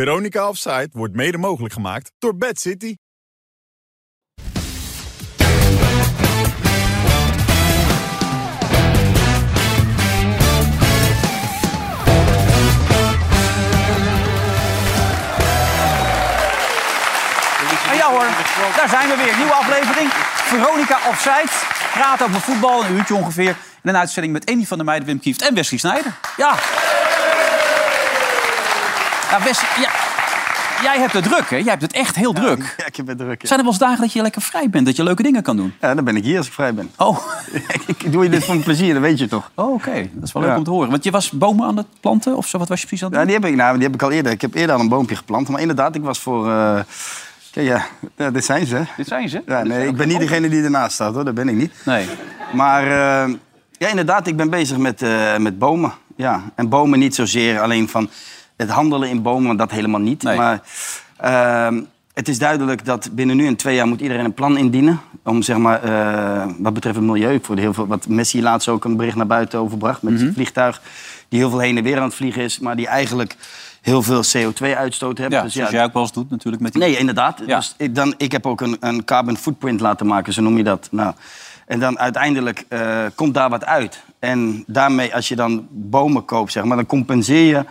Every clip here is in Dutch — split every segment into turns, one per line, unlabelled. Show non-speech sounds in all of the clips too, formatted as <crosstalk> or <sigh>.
Veronica Offside wordt mede mogelijk gemaakt door Bad City.
En ja hoor, daar zijn we weer. Nieuwe aflevering. Veronica Offside. Praat over voetbal, een uurtje ongeveer. En een uitzending met Andy van der Meijden, Wim Kieft en Wesley Snijder. Ja. Ja, Wesley, ja. jij hebt het druk, hè? Jij hebt het echt heel druk.
<laughs> Ja, ik ben druk. ja.
Zijn er wel eens dagen dat je lekker vrij bent, dat je leuke dingen kan doen?
Ja, dan ben ik hier als ik vrij ben. <laughs>
Oh, <laughs>
Ik doe je dit voor plezier, dat weet je toch?
oh oké. Dat is wel leuk
Ja.
om te horen. Want je was bomen aan het planten of zo? Wat was je precies aan het
Ja,
doen?
die heb ik, nou, die heb ik al eerder. Ik heb eerder al een boompje geplant. Maar inderdaad, ik was voor... eh, ja, ja, ja, dit zijn ze.
Dit zijn ze.
Ja, nee, ik ben niet degene die ernaast staat, hoor. Dat ben ik niet.
Nee.
Maar eh, ja, inderdaad, ik ben bezig met, eh, met bomen. Ja. En bomen niet zozeer alleen van het handelen in bomen, dat helemaal niet.
Nee.
Maar ehm, het is duidelijk dat binnen nu en twee jaar moet iedereen een plan indienen. Om zeg maar, eh, wat betreft het milieu, voor de heel veel, wat Messi laatst ook een bericht naar buiten overbracht
Mhm.
met zijn vliegtuig. Die heel veel heen en weer aan het vliegen is, maar die eigenlijk heel veel CO2-uitstoot hebben.
Ja,
Dus
zoals jij ook wel eens doet natuurlijk met die...
Nee, inderdaad.
Ja.
Dus ik, dan, ik heb ook een, een carbon footprint laten maken, zo noem je dat. Nou, en dan uiteindelijk eh, komt daar wat uit. En daarmee, als je dan bomen koopt, zeg maar, dan compenseer je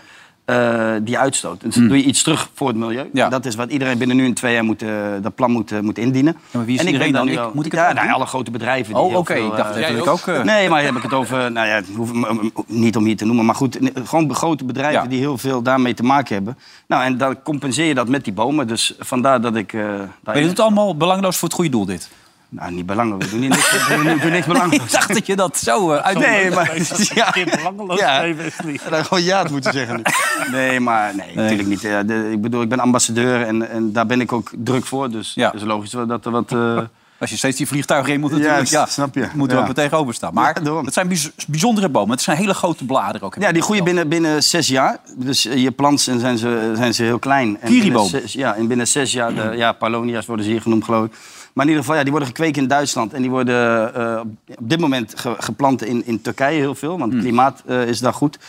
eh, die uitstoot. Dus dan doe je iets terug voor het milieu.
Hmm. Ja.
Dat is wat iedereen binnen nu en twee jaar moet, eh, dat plan moet, eh, moet indienen.
Ja, maar wie is
en
iedereen
ben
dan?
nu
Ik-
al-
moet ik het
ja,
ook
nou,
doen?
alle grote bedrijven. die
Oh, oké.
heel veel,
Ik dacht
eh,
dat
jij
ik ook... <laughs>
ook?
eh,
Nee, maar dan heb ik het over, nou ja, het hoeft m- m- niet om hier te noemen, maar goed, ne- gewoon grote bedrijven
Ja.
die heel veel daarmee te maken hebben. Nou, en dan compenseer je dat met die bomen, dus vandaar dat ik. eh daar
Maar je doet het allemaal belangloos voor het goede doel, dit.
Nou, niet belangrijk, we doen niet niks, <laughs> we doen, we doen niks
Ik <laughs>
belangrijks.
dacht dat je dat zo eh, uit... <laughs>
Nee, maar. Ja.
belangeloos
Ja.
nee, Wesley.
Ja, dan gewoon ja het moeten zeggen. nu. <laughs> Nee, maar nee, natuurlijk niet. Ja, de- ik bedoel, ik ben ambassadeur en, en daar ben ik ook druk voor. Dus
Ja.
het is logisch wel dat er wat... eh,
Als je steeds die vliegtuigen in moet
Ja,
natuurlijk. Ja,
s- snap je.
Moet er
Ja.
ook weer tegenover staan. Maar
Ja, daarom.
het zijn bijz- bijzondere bomen. Het zijn hele grote bladeren ook.
Ja, die groeien binnen, binnen zes jaar. Dus eh, je plant ze en zijn ze, zijn ze heel klein. En
Kiriboom.
binnen zes- Ja, en binnen zes jaar, de, ja, Palonia's worden ze hier genoemd, geloof ik. Maar in ieder geval, ja, die worden gekweekt in Duitsland. En die worden eh, op- op dit moment ge- geplant in, in Turkije heel veel,
Hmm.
want het klimaat eh, is daar goed.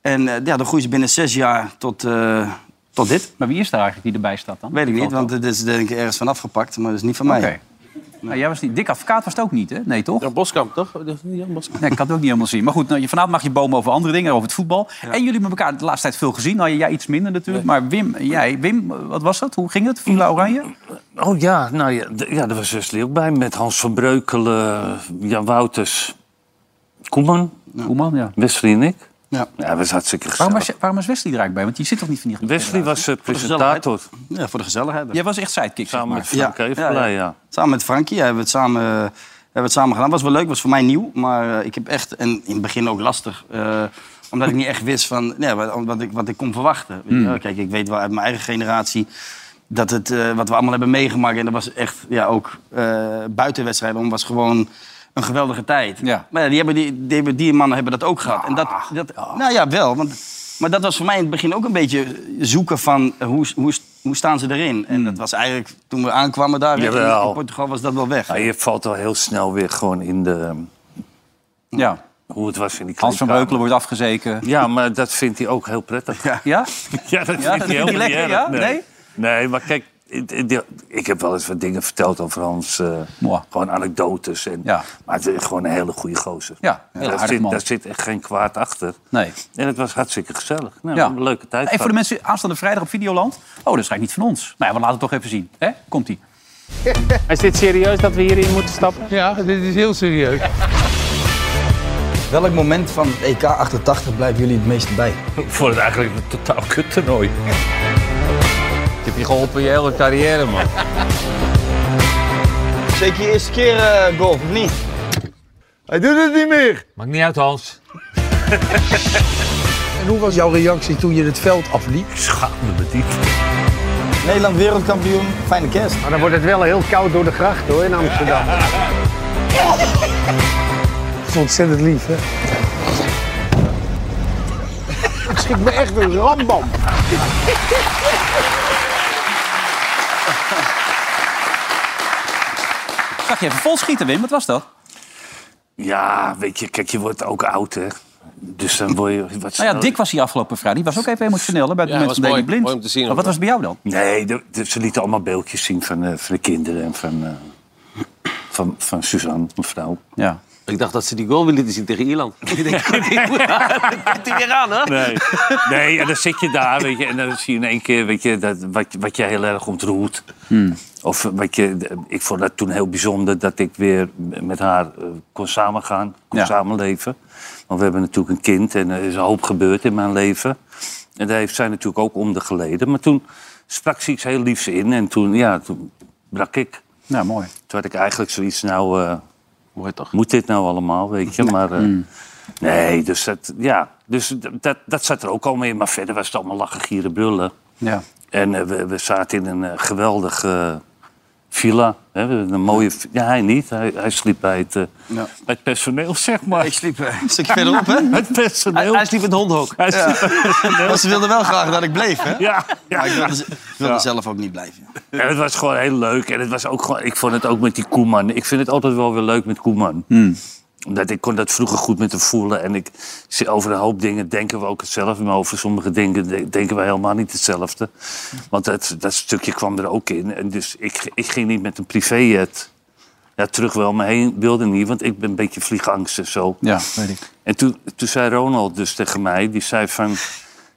En eh, ja, dan groeien ze binnen zes jaar tot, eh, tot dit.
Maar wie is daar eigenlijk die erbij staat dan?
Weet ik niet, want het is denk ik ergens van afgepakt, maar dat is niet van mij.
Oké. Nou, jij was niet... Dik advocaat was het ook niet, hè? Nee, toch?
Ja, Boskamp, toch? Dat is niet aan Boskamp.
Nee, ik kan het ook niet helemaal zien. Maar goed, nou, je- vanavond mag je bomen over andere dingen, over het voetbal. En jullie hebben elkaar de laatste tijd veel gezien. Nou, jij iets minder natuurlijk. Maar Wim, jij, Wim, eh, wat was dat? Hoe ging het? Villa Oranje?
Oh ja, nou ja, d- ja, daar was Wesley ook bij. Met Hans van Breukelen, eh, Jan Wouters, Koeman,
Koeman, ja.
Wesley en ik.
Ja.
Ja, dat was hartstikke gezellig.
Waarom was, je- waarom was Wesley er eigenlijk bij? Want je zit toch niet van die
Wesley was eh,
gezelligheid.
presentator
ja, voor de gezelligheid.
Jij was echt sidekick, zeg
samen
maar.
met Frank
Ja, ja,
Evenblij, ja,
Samen met Frankie ja, hebben we het samen, eh, hebben we het samen gedaan. Was wel leuk, was voor mij nieuw. Maar eh, ik heb echt, en in het begin ook lastig. eh, omdat ik niet echt wist van, nee, wat, wat ik, wat ik kon verwachten. Weet je wel? Kijk, ik weet wel uit mijn eigen generatie dat het, eh, wat we allemaal hebben meegemaakt... en dat was echt, ja, ook buitenwedstrijden buitenwedstrijden, om, was gewoon een geweldige tijd.
Ja.
Maar ja, die, hebben die, die, hebben- die mannen hebben dat ook gehad. en dat, dat, Nou ja, wel. Want, maar dat was voor mij in het begin ook een beetje zoeken van eh, hoe, hoe, hoe staan ze erin. En dat was eigenlijk toen we aankwamen daar in,
Jawel.
in Portugal was dat wel weg.
Nou, je valt al heel snel weer gewoon in de... um,
Ja.
Hoe het was in die
Hans van
kleedkamer.
Breukelen wordt afgezeken.
Ja, maar dat vindt hij ook heel prettig. Ja,
Ja?
dat vindt
dat vindt hij
helemaal
lekker,
niet
ja?
erg,
Nee?
Nee? Nee, maar kijk... het- het- die- Ik heb wel eens wat dingen verteld over Hans. eh,
Mooi.
gewoon anekdotes. En,
Ja.
Maar het is gewoon een hele goede gozer.
Ja, heel
daar,
aardig
zit,
man.
daar zit echt geen kwaad achter.
Nee.
En het was hartstikke gezellig. Nou, we
Ja.
hebben een leuke tijd
Even voor de
gehad.
mensen aanstaande vrijdag op Videoland. Oh, dat is eigenlijk niet van ons. Nou ja, we laten het toch even zien. Hè? Komt-ie.
Is dit serieus dat we hierin moeten stappen?
Ja, dit is heel serieus.
Welk moment van EK 88 blijven jullie het meest bij?
voor het eigenlijk een totaal kut toernooi.
Ik heb je geholpen je hele carrière, man.
Zeker je eerste keer golf, of niet?
Hij doet het niet meer.
Maakt niet uit, Hans.
En hoe was jouw reactie toen je het veld afliep?
Schaam me diep.
Nederland wereldkampioen, fijne kerst.
Maar dan wordt het wel heel koud door de gracht hoor in Amsterdam. Ik vond het ontzettend lief, hè? Ik schrik me echt een rambam.
Zag je even vol schieten, Wim? Wat was dat? Nou
Ja, weet je, kijk, je wordt ook oud, hè. Dus dan word je wat
Nou ja,
sneller.
Dick was hier afgelopen vrijdag. Die was ook even emotioneel hè, bij het
Ja,
moment
was
van Deli
mooi.
Blind.
Mooi om te zien,
maar wat
hoor.
was het bij jou dan?
Nee, de- de- ze lieten allemaal beeldjes zien van, eh, van de kinderen en van, eh, van, van Suzanne, mevrouw.
Ja.
Ik dacht dat ze die goal wilden zien tegen Ierland. <laughs> Ik denk, dat komt hij weer aan, hè?
<laughs> Nee. nee, en dan zit je daar, weet je, en dan zie je in één keer weet je, dat, wat, wat jij heel erg ontroert. Of wat je, ik vond dat toen heel bijzonder dat ik weer met haar eh, kon samengaan, kon
Ja.
samenleven. Want we hebben natuurlijk een kind en er is een hoop gebeurd in mijn leven. En daar heeft zij natuurlijk ook onder geleden. Maar toen sprak ze iets heel liefs in en toen, ja, toen brak ik.
Nou, mooi.
Toen had ik eigenlijk zoiets, nou, eh,
Mooi toch?
moet dit nou allemaal, weet je? Maar eh, nee, dus, dat, ja, dus d- dat, dat zat er ook al mee. Maar verder was het allemaal lachen, gieren, brullen.
Ja.
En eh, we, we zaten in een eh, geweldige eh, villa. Hè? we hadden Een mooie, vi- ja, hij niet. Hij, hij sliep bij het, eh, bij het personeel, zeg maar.
Ik sliep eh, een stukje verderop, <laughs> hè?
<laughs> Het personeel.
Hij sliep in het hondenhok.
Hij sliep bij het personeel.
Want ze wilden wel graag dat ik bleef, hè?
Ja, ja.
Maar ik wilde, ze- wilde
Ja.
zelf ook niet blijven.
En het was gewoon heel leuk. En het was ook gewoon, ik vond het ook met die Koeman. Ik vind het altijd wel weer leuk met Koeman. Omdat ik kon dat vroeger goed met hem voelen. En ik, zie- over een hoop dingen denken we ook hetzelfde. Maar over sommige dingen de- denken we helemaal niet hetzelfde. Want dat, dat stukje kwam er ook in. En dus ik, ik ging niet met een privéjet ja, terug wel me heen. Wilde niet, want ik ben een beetje vliegangst en zo.
ja, weet ik.
En toen, toen zei Ronald dus tegen mij, die zei van...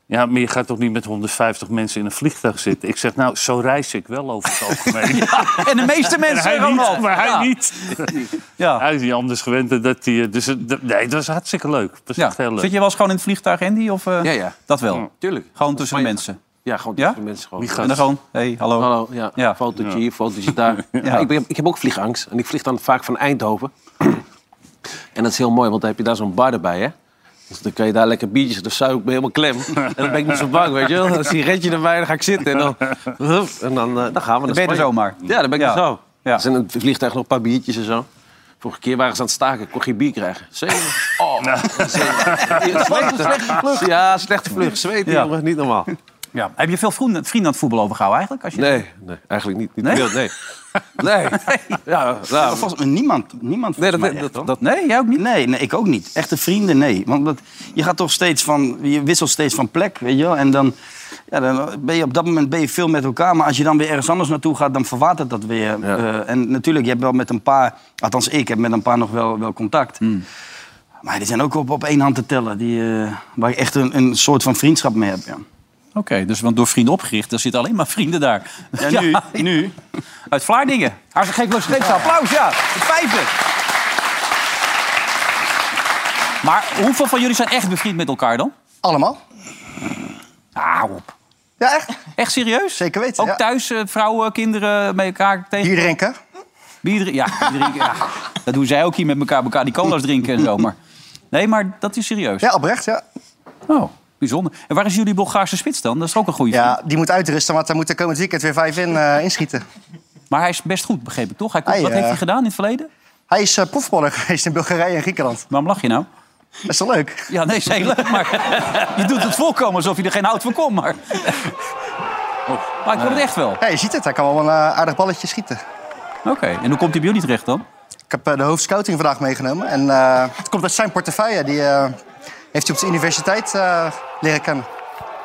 Ja, maar je gaat toch niet met 150 mensen in een vliegtuig zitten? Ik zeg, nou, zo reis ik wel over het
<laughs>
algemeen.
En de meeste
En
mensen
hij
Ronald.
niet, maar hij
ja.
niet.
Ja.
Hij is niet anders gewend dan dat hij... eh, Dus het, d- nee, dat was hartstikke leuk. Dat was
Ja.
echt heel
Zit
leuk.
je wel eens gewoon in het vliegtuig, Andy? Of, eh,
Ja, ja.
Dat wel.
Tuurlijk.
Gewoon tussen de
Maar-
mensen.
Ja, gewoon
Ja?
tussen de mensen gewoon.
En dan gewoon, hey, hallo.
Hallo, ja.
Ja.
Fotootje hier, fotootje <laughs> daar. Ja, ik, ben, ik heb ook vliegangst. En ik vlieg dan vaak van Eindhoven. <clears throat> en dat is heel mooi, want dan heb je daar zo'n bar erbij, hè. Dus dan kan je daar lekker biertjes, dan zuip ik me helemaal <laughs> klem. En dan ben ik niet zo bang, weet je wel. Een sigaretje erbij, dan ga ik zitten. En <laughs> dan, en dan, eh, dan gaan
Dan
we naar
ben je er
Spanje.
zomaar.
Ja, dan ben ik
Ja.
er zo.
Ja.
Dus in het vliegtuig nog een paar biertjes en zo. Vorige keer waren ze aan het staken, ik kon geen bier krijgen. Zeker. <laughs> Oh, zweet. Slechte vlucht. Ja, slechte vlucht. Zweet,
Ja.
jongen. Niet normaal.
Ja. Heb je veel vrienden, vrienden aan het voetbal overgehouden eigenlijk? Als je...
Nee, nee, eigenlijk niet. niet
Nee?
veel, nee. nee. Ja, nou,
Volgens mij niemand. Niemand
nee,
volgens
dat,
mij
dat,
echt, hoor.
dat,
Nee, jij ook niet?
Nee, nee, ik ook niet. Echte vrienden, nee. Want dat, je gaat toch steeds van, je wisselt steeds van plek, weet je wel. En dan, ja, dan ben je op dat moment ben je veel met elkaar. Maar als je dan weer ergens anders naartoe gaat, dan verwatert dat weer. Eh, en natuurlijk, je hebt wel met een paar, althans ik heb met een paar nog wel, wel contact.
Hmm.
Maar die zijn ook op, op één hand te tellen, die, eh, waar ik echt een, een soort van vriendschap mee heb. Ja.
Oké, dus want door vrienden opgericht, daar zitten alleen maar vrienden daar. <laughs>
Ja, nu, nu.
Uit Vlaardingen. Hartstikke leuk. Geef ze applaus, ja. Het vijfde. Maar hoeveel van jullie zijn echt bevriend met elkaar dan?
Allemaal?
Nou, op.
Ja, echt?
Echt serieus?
Zeker weten,
Ook
ja.
thuis eh, vrouwen, kinderen met elkaar tegen?
Hier drinken?
Bier drinken? Ja, bier drinken, ja. dat doen zij ook hier met elkaar. elkaar die cola's drinken en zo. Maar... Nee, maar dat is serieus.
Ja, oprecht, ja.
Oh, bijzonder. En waar is jullie Bulgaarse spits dan? Dat is toch ook een goede
Ja, die moet uitrusten, want hij moet er komend weekend weer vijf in eh, inschieten.
Maar hij is best goed, begreep ik toch? Hij komt,
Hij,
wat heeft
eh,
hij gedaan in het verleden?
Hij is eh, proefballer <laughs> geweest in Bulgarije en Griekenland.
Waarom lach je nou?
Dat is toch leuk?
Ja, nee, is heel leuk, maar <laughs> je doet het voorkomen alsof je er geen hout van kon. Maar, maar ik hoor het echt wel. Oké,
Ja, je ziet het, hij kan wel een eh, aardig balletje schieten.
en hoe komt hij bij jullie terecht dan?
Ik heb eh, de hoofdscouting vandaag meegenomen. En eh, het komt uit zijn portefeuille. Die eh, heeft hij op zijn universiteit eh, leren kennen.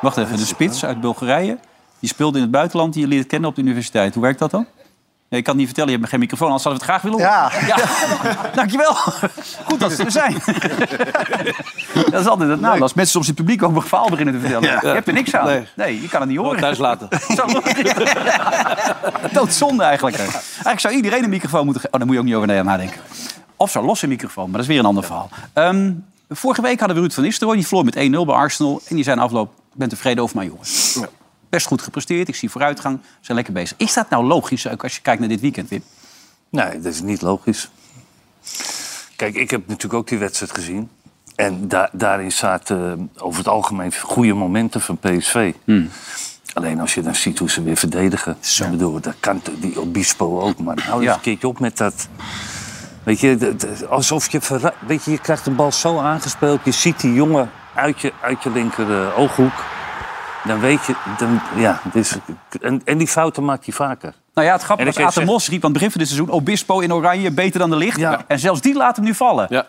Wacht even, de spits uit Bulgarije. Die speelde in het buitenland, die je leert kennen op de universiteit. Hoe werkt dat dan? Nee, ik kan het niet vertellen, je hebt geen microfoon, anders hadden we het graag willen
Ja.
horen. Ja. Dankjewel. Goed dat ze er zijn. dat is altijd het nadeel. Als mensen soms in het publiek ook een verhaal beginnen te vertellen. Je hebt er niks aan. Nee, je kan het niet horen.
thuis laten.
<laughs> Zo. <laughs> Doodzonde eigenlijk. Eigenlijk zou iedereen een microfoon moeten geven. Oh, daar moet je ook niet over nadenken. Of zo'n losse microfoon, maar dat is weer een ander verhaal. Ehm, vorige week hadden we Ruud van Nistelrooy. Die verloor met 1-0 bij Arsenal. En die zei na afloop, ik ben tevreden over mijn jongens. Best goed gepresteerd, ik zie vooruitgang. Ze zijn lekker bezig. Is dat nou logisch ook als je kijkt naar dit weekend, Wim?
Nee, dat is niet logisch. Kijk, ik heb natuurlijk ook die wedstrijd gezien. En da- daarin zaten eh, over het algemeen goede momenten van PSV. Alleen als je dan ziet hoe ze weer verdedigen. Ik bedoel, dat kan t- die Obispo ook, maar hou eens
Ja.
een keertje op met dat... Weet je, dat- dat- alsof je, verra- weet je, je krijgt de bal zo aangespeeld. Je ziet die jongen uit je, uit je linker eh, ooghoek. Dan weet je, dan, ja, dit is, en, en die fouten maakt hij vaker.
Nou ja, het grappige
En
was,
ik weet
Aten Mos riep aan het begin van dit seizoen... Obispo in oranje, beter dan de licht.
Ja.
En zelfs die laat hem nu vallen.
Ja.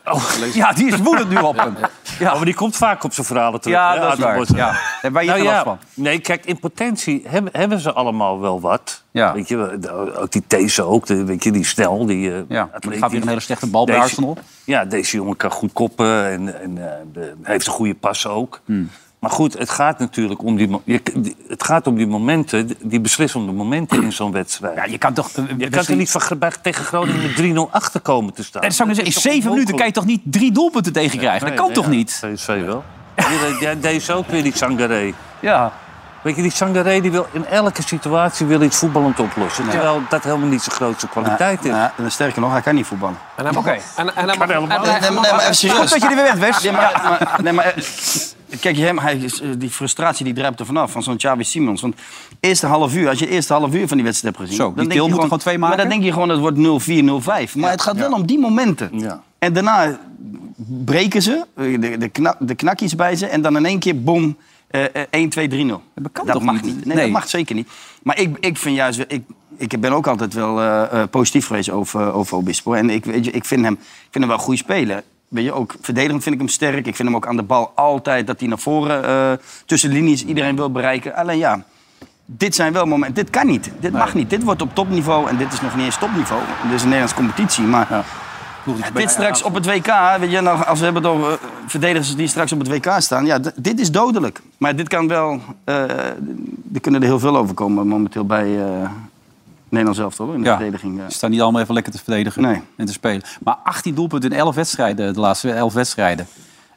Ja, die is woedend nu op hem. Ja.
Oh, maar die komt vaak op zijn verhalen terug.
Ja,
hè,
dat is
Adrie
waar.
Bossen.
Ja. Ah, Daar ben je
Nou
geen last
ja,
van.
nee, kijk, in potentie hebben, hebben ze allemaal wel wat.
Ja.
Weet je, wel, de- ook die These ook, de, weet je, die snel, die eh
Ja,
atletisch.
die gaat weer een hele slechte bal bij
Deze-
Arsenal.
Ja, deze jongen kan goed koppen en, en eh, de- heeft een goede pas ook.
Hmm.
Maar goed, het gaat natuurlijk om die, mo- je, die- het gaat om die momenten, die beslissende momenten in zo'n wedstrijd.
Ja, je kan toch... eh,
Je kan er
misschien-
niet van, Gro- bij- tegen Groningen met 3-0 achter komen te staan.
Dat Eh, zou ik zeggen, in
is toch
zeven minuten kan je toch niet drie doelpunten tegenkrijgen? Dat
Nee,
kan
nee,
toch
ja.
niet?
PSV wel. Ja, Jij deed ook weer die Sangaré.
Ja.
Weet je, die Sangaré die wil in elke situatie wil iets voetballend oplossen. Terwijl dat helemaal niet zijn grootste kwaliteit is.
Ja, en sterker nog, hij kan niet voetballen.
En hij mag,
Oké.
en, en hij mag,
helemaal
en- en-
Nee, nee, nee, maar even serieus.
Goed dat je er weer bent, Wes.
Nee, maar, maar- nee, maar eh, kijk, hem, hij, is, eh, die frustratie die druipt er vanaf van zo'n Xavi Simons. Want eerste half uur, als je eerste half uur van die wedstrijd hebt gezien...
Zo, die Til
je
moet er gewoon twee
Maar
maken?
dan denk je gewoon, het wordt 0-4, 0-5. Maar het gaat wel om die momenten.
Ja.
En daarna breken ze, eh, de, de, kna- de knakjes bij ze... en dan in één keer, boom, eh, eh, 1, 2, 3, 0.
Dat kan
dat
toch
mag
niet?
niet? Nee,
Nee.
dat mag zeker niet. Maar ik, ik vind juist... Ik, ik ben ook altijd wel eh, eh, positief geweest over, over Obispo. En ik, weet je, ik, vind hem, ik vind hem wel een goede speler. Weet je, ook verdedigend vind ik hem sterk. Ik vind hem ook aan de bal altijd dat hij naar voren... eh, tussen linies iedereen wil bereiken. Alleen ja, dit zijn wel momenten... Dit kan niet. Dit mag niet. Dit wordt op topniveau. En dit is nog niet eens topniveau. Dit is een Nederlandse competitie. Maar dit straks op het WK, weet je, nou, als we hebben het over eh, verdedigers die straks op het WK staan. Ja, d- dit is dodelijk. Maar dit kan wel. eh, er kunnen er heel veel overkomen momenteel bij eh Nederland zelf, toch? In de
Ja.
verdediging. eh.
Ze staan niet allemaal even lekker te verdedigen
Nee.
en te spelen. Maar 18 doelpunten in 11 wedstrijden, de laatste 11 wedstrijden.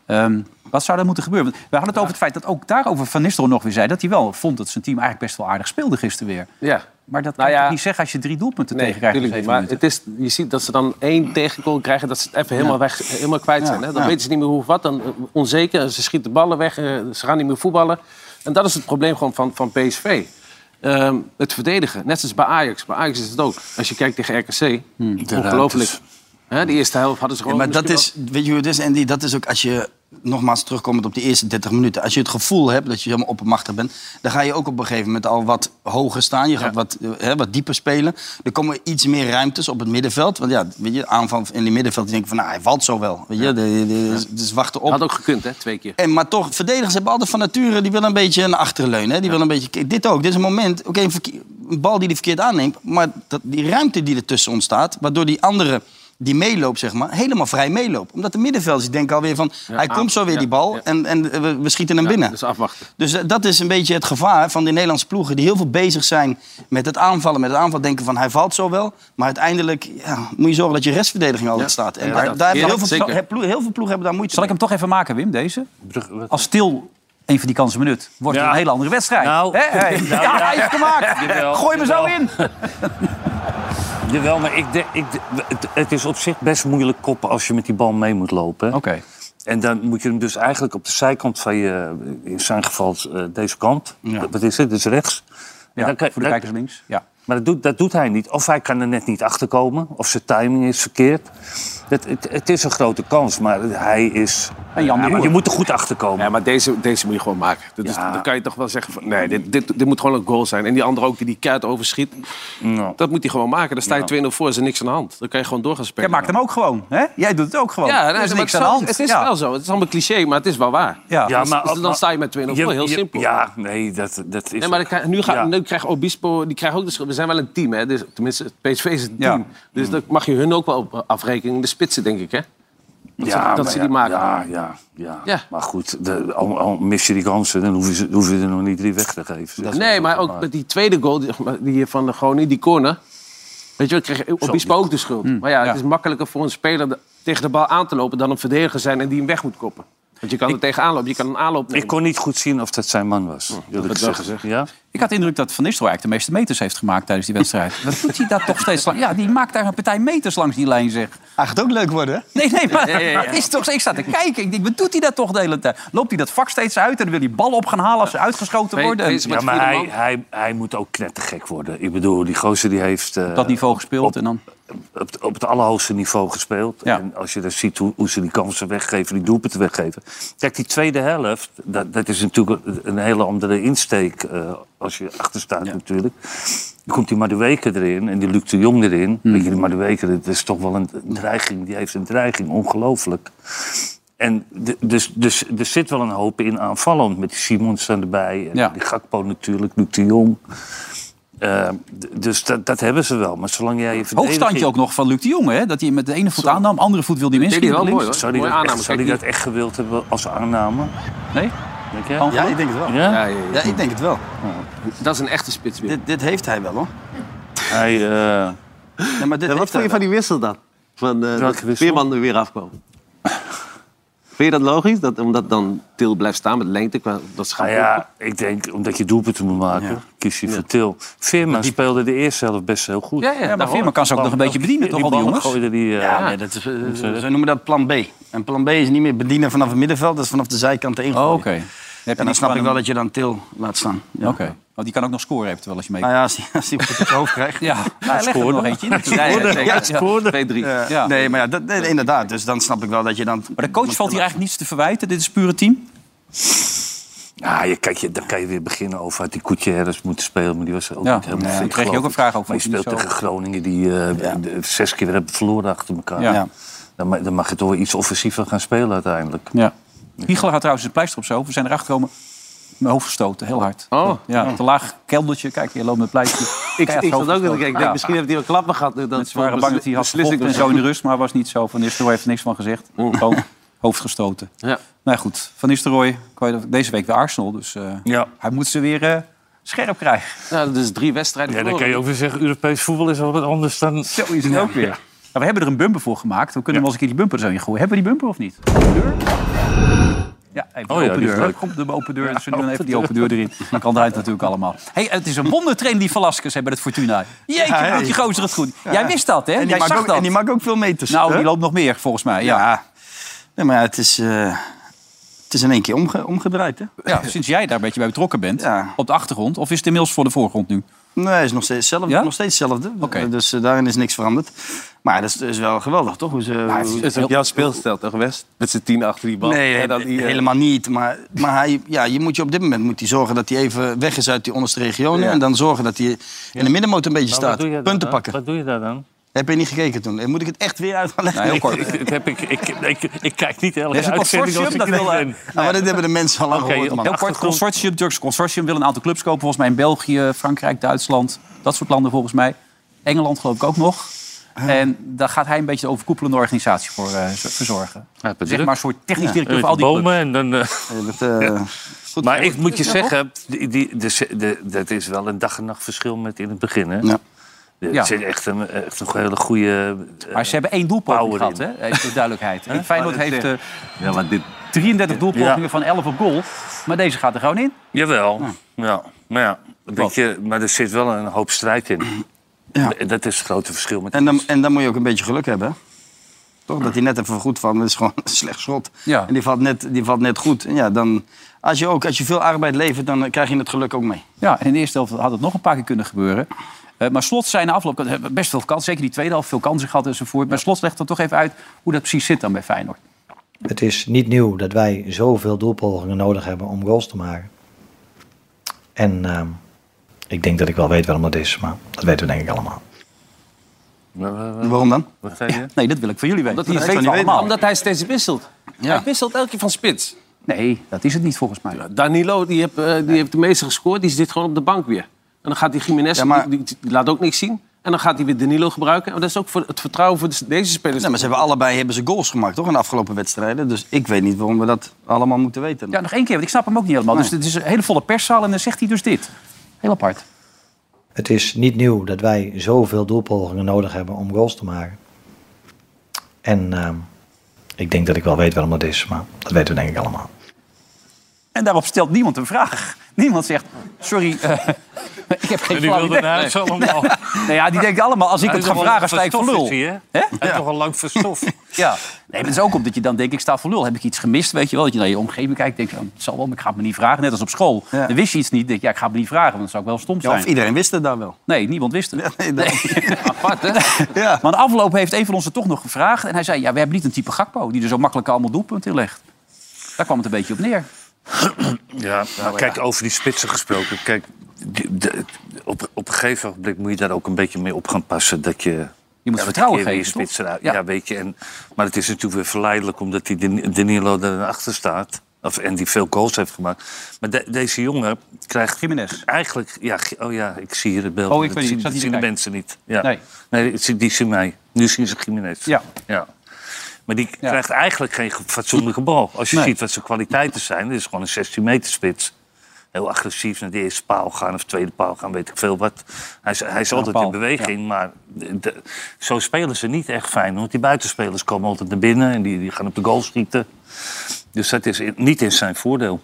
Ehm, wat zou er moeten gebeuren? Want We hadden het over het feit dat ook daarover Van Nistelrooy nog weer zei... dat hij wel vond dat zijn team eigenlijk best wel aardig speelde gisteren weer.
ja.
Maar dat kan
Nou
je
ja.
toch niet zeggen als je drie doelpunten
Nee,
tegenkrijgt in
natuurlijk niet.
zeven
Maar
minuten?
het is, je ziet dat ze dan één tegenkool krijgen, dat ze het even helemaal, weg, helemaal kwijt zijn. Hè? Dan
ja.
weten ze niet meer hoe of wat, dan eh, onzeker. Ze schieten de ballen weg, eh, ze gaan niet meer voetballen. En dat is het probleem gewoon van, van PSV. Ehm, het verdedigen, net zoals bij Ajax. Bij Ajax is het ook. Als je kijkt tegen RKC, ongelooflijk. Hè, de eerste helft hadden ze
dus- Ja,
gewoon...
maar dat is,
misschien
weet je hoe het is, Andy? Dat is ook als je, nogmaals terugkomend op die eerste 30 minuten... als je het gevoel hebt dat je helemaal oppermachtig bent... dan ga je ook op een gegeven moment al wat hoger staan. Je gaat wat, eh, hè, wat dieper spelen. Er komen iets meer ruimtes op het middenveld. Want ja, weet je, aanval in die middenveld die denken van... nou, hij valt zo wel. Weet je, de- de- de- dus wachten
wel-
op.
Had ook gekund, hè, twee keer.
En, maar toch, verdedigers hebben altijd van nature... die willen een beetje naar achteren leunen. Hè? Die willen een beetje, kijk, dit ook, dit is een moment... oké, een, verke- een bal die hij verkeerd aanneemt... maar dat, die ruimte die ertussen ontstaat... waardoor die andere die meeloopt, zeg maar, helemaal vrij meeloopt. Omdat de middenvelders denken alweer van... hij
aan-
komt zo weer
ja,
die bal
ja.
en, en eh, we, we schieten hem binnen.
Dus afwachten.
Dus eh, dat is een beetje het gevaar van de Nederlandse ploegen... die heel veel bezig zijn met het aanvallen, met het aanval. Denken van, hij valt zo wel. Maar uiteindelijk ja, moet je zorgen dat je restverdediging altijd staat. En daar,
dat-
daar hebben
ja,
heel, veel,
zeker.
ploegen- ploegen- heel veel ploegen hebben daar moeite
Zal ik
mee.
hem toch even maken, Wim, deze?
Brugge- wat-
Als stil een van die kansen benut, wordt het
Ja.
een hele andere wedstrijd.
<laughs>
Nou.
Hè? Hey.
Nou,
ja,
ja.
hij is gemaakt.
Jawel,
<laughs> Gooi me zo
jawel.
in.
Jawel, maar ik, denk- ik, het, het is op zich best moeilijk koppen als je met die bal mee moet lopen. hè.
Oké.
En dan moet je hem dus eigenlijk op de zijkant van je, in zijn geval eh, deze kant, wat is het, dus rechts. En
Ja,
dan kan-
voor de
dan-
kijkers links. Ja.
Maar dat doet, dat doet hij niet. Of hij kan er net niet achter komen. Of zijn timing is verkeerd. Het, het, het is een grote kans, maar hij is.
En Jan de
Ja, maar
Boer.
je moet er goed achter komen.
Ja, maar deze, deze moet je gewoon maken. Dat is,
Ja.
Dan kan je toch wel zeggen van... Nee, dit, dit, dit moet gewoon een goal zijn. En die andere ook die die kuit overschiet.
Nou.
Dat moet hij gewoon maken. Dan sta je 2-0 voor, is er niks aan de hand. Dan kan je gewoon door gaan
Jij
spelen.
maakt hem ook gewoon, hè? Jij doet het ook gewoon.
Ja, nee,
er is
maar
niks aan
het is
de
wel-
hand.
Het is
Ja.
wel zo. Het is allemaal cliché, maar het is wel waar.
Ja.
Ja,
Dus- dus dan sta je met 2-0 voor, heel simpel.
Ja, nee, dat, dat is.
Nee, maar dan krijg- nu, ga,
Ja.
nu krijgt Obispo, die krijgt ook de schuld. We zijn wel een team, hè? Dus, tenminste, het PSV is een
Ja.
team. Dus dat mag je hun ook wel op afrekenen. De spitsen, denk ik, hè? ze- dat
maar
ze die maken.
Ja, ja, ja.
Ja.
Maar goed, de, al, al mis je die kansen, dan hoef je, ze- hoef je er nog niet drie weg te geven.
Nee, maar ook met die tweede goal die, die eh, van de Groningen, die corner. Weet je, wel, kreeg Obispo ook de schuld.
Mm.
Maar ja, het
ja.
is makkelijker voor een speler de- tegen de bal aan te lopen... dan een verdediger zijn en die hem weg moet koppen. Want je kan er tegenaan lopen, je kan een aanloop nemen.
Ik kon niet goed zien of dat zijn man
Hm,
was. dat
werd wel gezegd.
Ja?
Ik had de indruk dat Van Nistelrooy eigenlijk de meeste meters heeft gemaakt tijdens die
<laughs>
wedstrijd. Wat doet hij dat toch steeds lang? Ja, die maakt daar een partij meters langs die lijn, zeg.
Hij gaat ook leuk worden, hè?
Nee, nee, maar
ja, ja.
het is toch... Ik sta te kijken. Ik denk, wat doet hij dat toch de hele tijd? Loopt hij dat vak steeds uit en dan wil hij ballen op gaan halen als ze uitgeschoten
Weet-
worden?
weet je-
Ja,
Met
maar
vierde
hij,
man.
hij, hij moet ook knettergek worden. Ik bedoel, die gozer die heeft... eh,
Op dat niveau gespeeld en dan...
op, het- op het allerhoogste niveau gespeeld.
Ja.
En als je dan ziet hoe, hoe ze die kansen weggeven, die doelpunten weggeven. Kijk, die tweede helft, dat, dat is natuurlijk een- een hele andere insteek eh, als je achter staat natuurlijk. Dan komt die Maduweke erin en die Luc de Jong
Mhm.
erin. Weet je, die Maduweke, dat is toch wel een, een dreiging. Die heeft een dreiging, ongelooflijk. En de- dus, dus er zit wel een hoop in aanvallend. Met die Simons dan erbij. En
Ja.
Die Gakpo natuurlijk, Luc de Jong. Eh, d- dus dat, dat hebben ze wel. Maar zolang jij je
Hoogstandje
verdediging-
ook nog van Luc de Jong, hè? Dat hij met de ene voet aannam, andere voet wilde hij
deed hij
inschieten. links.
wel mooi, hoor.
Zou die,
Mooie
dat echt,
aanname,
zou die
kijk
dat echt gewild hebben als aanname?
Nee?
Denk jij?
Kan
Ja, ik denk het wel.
Ja?
Ja, ja, ja.
Ja, ik denk het wel.
Dat is een echte spits weer.
Dit, dit heeft hij wel, hoor.
Hij, eh,
Ja, maar dit
En wat
heeft
vond je
hij
van die wissel dan? Van, eh dat
Welke wissel?
Veerman er weer
<laughs>
afkwam. Vind je dat logisch? Dat, omdat dan Til blijft staan met lengte. qua- Dat schaap
Ah,
nou ja, ik denk omdat je doelpunten moet maken, kies je voor Til. Veerman speelde de eerste helft best heel goed.
Ja, ja,
Ja, maar Veerman kan ze ook nog een beetje bedienen, toch, al die
ballen
jongens?
gooide die, eh,
Ja, nee, dat is, eh, ze noemen dat plan B. En plan B is niet meer bedienen vanaf het middenveld, dat is vanaf de zijkant erin.
Oh,
gooien.
oké. Heb je
En dan
niet
snap ik
van
wel
hem-
dat je dan Til laat staan. Ja.
Oké. Want die kan ook nog scoren eventueel als je
Ah,
mee...
Nou ja, als hij, als hij op het hoofd
<laughs>
krijgt.
Ja, ja leg er nog eentje in.
Ja,
natuurlijk.
ja,
Ja,
zeker.
ja, ja. Maar
Twee, drie.
Eh,
Ja.
Nee, maar ja, dat, nee, inderdaad. Dus dan snap ik wel dat je dan...
de coach valt hier eigenlijk niets te verwijten. Dit is pure team.
Ja, je, kijk, je, dan kan je weer beginnen over had die Gutierrez moeten spelen. Maar die was ook
Ja,
niet helemaal
ja,
fit,
dan kreeg je
geloof
ook een
ik.
vraag over,
Maar je
vond je
speelt
niet
tegen Groningen die eh, de- zes keer weer hebben verloren achter elkaar.
Ja.
Ja. Dan, ma- dan mag je toch wel iets offensiever gaan spelen uiteindelijk.
Ja. Giegel had trouwens een pleister op zijn hoofd. We zijn erachter gekomen. Mijn hoofd gestoten, heel hard.
Oh.
Ja, te laag keldertje. Kijk, je loopt met pleister.
Ik,
Keihard
ik zat
hoofd
ook dat ik
gestoten.
denk,
Ja.
misschien heeft hij wel klappen gehad. nu Dat
Ze waren bang dat hij had
beslis ik
gevochten en
dat-
zo in de rust, maar was niet zo. Van Nistelrooy heeft er niks van gezegd. Gewoon hoofd gestoten.
Oh. Ja.
Nou ja, goed, Van Nistelrooy kwijt- deze week weer Arsenal, dus eh,
Ja.
hij moet ze weer eh, scherp krijgen.
Nou, dat is drie wedstrijden
Ja, dan kan
verloren.
je ook weer zeggen, Europees voetbal is wel wat anders dan...
Zo is het ook weer. Nou, we hebben er een bumper voor gemaakt. We kunnen wel eens een keer die bumper er zo in gooien. Hebben we die bumper of niet? Open deur? Ja, even
Oh ja,
de open
die is
deur.
leuk.
Komt de open deur. Dus we doen even die open deur erin. Dan kan het natuurlijk allemaal. Hey, het is een wondertrainer die Velasquez hebben het Fortuna. Jeetje,
Ja, hey.
doet die gozer het goed. Jij wist dat, hè?
En die,
Jij
maakt
zag
ook,
dat.
en die maakt ook veel meters.
Nou, die
Huh?
loopt nog meer, volgens mij. Ja.
Ja. Nee, maar ja, het is... eh, het is in één keer omge- omgedraaid, hè?
Ja, sinds jij daar een beetje bij betrokken bent,
Ja.
op de achtergrond, of is het inmiddels voor de voorgrond nu?
Nee, het is nog steeds hetzelfde.
Ja?
Nog steeds hetzelfde.
Oké.
Eh, Dus eh, daarin is niks veranderd. Maar dat is, is wel geweldig, toch? Hoe ze, hoe-
Het is op jouw speelstijl toch, West? Met z'n tien achter die bal.
Nee,
En dan
he-
die, eh,
helemaal niet. Maar, maar hij, ja, je moet je op dit moment moet hij zorgen dat hij even weg is uit die onderste regionen. En dan zorgen dat hij in de middenmoot een beetje
Maar Nou, wat doe je
staat.
daar
Punten
dan?
pakken.
Wat doe je daar dan?
Heb je niet gekeken toen? Eh, Moet ik het echt weer uit gaan leggen?
Nou,
<laughs>
heel kort.
Ik, ik, heb- ik, ik, ik, ik kijk niet
Er is
elke
een
uitzending als
consortium
ik
dat wil,
er
eh,
ben.
Nou, maar dit hebben de mensen al lang
Oké,
gehoord, man.
Heel kort,
achtergrond.
consortium, Turks consortium wil een aantal clubs kopen. Volgens mij in België, Frankrijk, Duitsland. Dat soort landen volgens mij. Engeland geloof ik ook nog. En daar gaat hij een beetje de overkoepelende organisatie voor eh, z- verzorgen.
Ja,
Zeg maar een soort technisch directeur
Met
voor al die
bomen
clubs.
en dan... eh,
Ja, dat, eh, goed.
Maar ik moet je zeggen, die, die, de, de, dat is wel een dag en nacht verschil met in het begin. Hè?
Ja.
Het
Ja.
zit echt een, echt een hele goede... eh,
Maar ze hebben één doelpoging
Power
gehad,
in.
hè? even voor duidelijkheid. En Feyenoord heeft eh,
Ja, maar dit...
33 doelpogingen
Ja.
van 11 op goal. Maar deze gaat er gewoon in.
Jawel, ja. Maar, ja, weet je, maar er zit wel een hoop strijd in.
Ja.
Dat is het grote verschil met...
En, dan, en dan moet je ook een beetje geluk hebben. hè? Toch? Dat hij net even goed van. Dat is gewoon een <laughs> slecht schot.
Ja.
En die valt net, die valt net goed. En ja, dan, als, je ook, als je veel arbeid levert, dan eh, krijg je het geluk ook mee.
Ja, en in de eerste helft had het nog een paar keer kunnen gebeuren. Eh, maar Slot zijn na afloop eh, best veel kansen. Zeker die tweede helft, veel kansen gehad enzovoort. Maar Slot legt dan toch even uit hoe dat precies zit dan bij Feyenoord.
Het is niet nieuw dat wij zoveel doelpogingen nodig hebben om goals te maken. En ehm, ik denk dat ik wel weet waarom dat is, maar dat weten we denk ik allemaal.
Waarom dan?
Wat zei je?
Nee, dat wil ik van jullie weten.
Omdat hij,
dat weten we
steeds,
allemaal.
omdat hij steeds wisselt. Hij wisselt elke keer van spits.
Nee, dat is het niet volgens mij.
Danilo, die, heb, eh, die heeft de meeste gescoord. Die zit gewoon op de bank weer. En dan gaat die Jiménez,
Ja, maar-
die, die laat ook niks zien. En dan gaat hij weer Danilo gebruiken. En dat is ook voor het vertrouwen voor de- deze spelers.
Nee, maar ze hebben allebei hebben ze goals gemaakt, toch? In de afgelopen wedstrijden. Dus ik weet niet waarom we dat allemaal moeten weten.
Ja, nog één keer, want ik snap hem ook niet helemaal. Dus het is een hele volle perszaal en dan zegt hij dus dit. Heel apart.
Het is niet nieuw dat wij zoveel doelpogingen nodig hebben om goals te maken. En ehm, ik denk dat ik wel weet waarom dat is, maar dat weten we denk ik allemaal.
En daarop stelt niemand een vraag. <laughs> Niemand zegt, sorry, eh, <laughs> ik heb geen flauw
En die wilde
idee.
daarna zo allemaal...
Nou ja, die denkt allemaal, als ik het ga vragen, sta ik voor lul.
Hij is
Hè?
toch al
<laughs>
lang verstof.
Ja. Nee, maar het is ook omdat je dan denkt, ik sta voor lul. Heb ik iets gemist, weet je wel? Dat je naar je omgeving kijkt, denk je, oh, het zal wel, maar ik ga het me niet vragen. Net als op school.
Ja.
Dan wist je iets niet, denk je, ja, ik ga het me niet vragen, want dan zou ik wel stom
Ja,
zijn.
of iedereen wist het daar wel.
Nee, niemand wist het.
nee, dat-
Apart, hè?
<laughs> Ja.
Maar de afloop heeft een van ons er toch nog gevraagd. En hij zei, ja, we hebben niet een type Gakpo die er zo makkelijk allemaal doelpunten in legt. Daar kwam het een beetje op neer.
Ja,
Nou,
maar kijk, over die spitsen gesproken. Kijk, die- de- op, op een gegeven moment moet je daar ook een beetje mee op gaan passen. Dat je
Je moet
Ja,
vertrouwen
elke keer
geven.
weer
toch?
spits eruit.
Ja.
Ja. weet je. En, maar het is natuurlijk weer verleidelijk omdat die Dan- Danilo erachter staat. Of, en die veel goals heeft gemaakt. Maar de- deze jongen krijgt
Jiménez.
eigenlijk... Ja, G- oh ja, ik zie hier het beeld.
Oh, ik
Dat
weet niet,
zien-
ik zat niet
dat
te
zien de
kijken.
mensen niet. Ja.
Nee.
Nee, die- die zien mij. Nu zien ze Jiménez.
Ja.
ja. Maar die krijgt eigenlijk geen ge- fatsoenlijke bal. Als je
Nee.
ziet wat zijn kwaliteiten zijn, dit is gewoon een 16 meter spits. Heel agressief naar de eerste paal gaan of tweede paal gaan, weet ik veel wat. Hij is, hij is altijd
paal,
in beweging, maar de- de- zo spelen ze niet echt fijn. Want die buitenspelers komen altijd naar binnen en die, die gaan op de goal schieten. Dus dat is in- niet in zijn voordeel.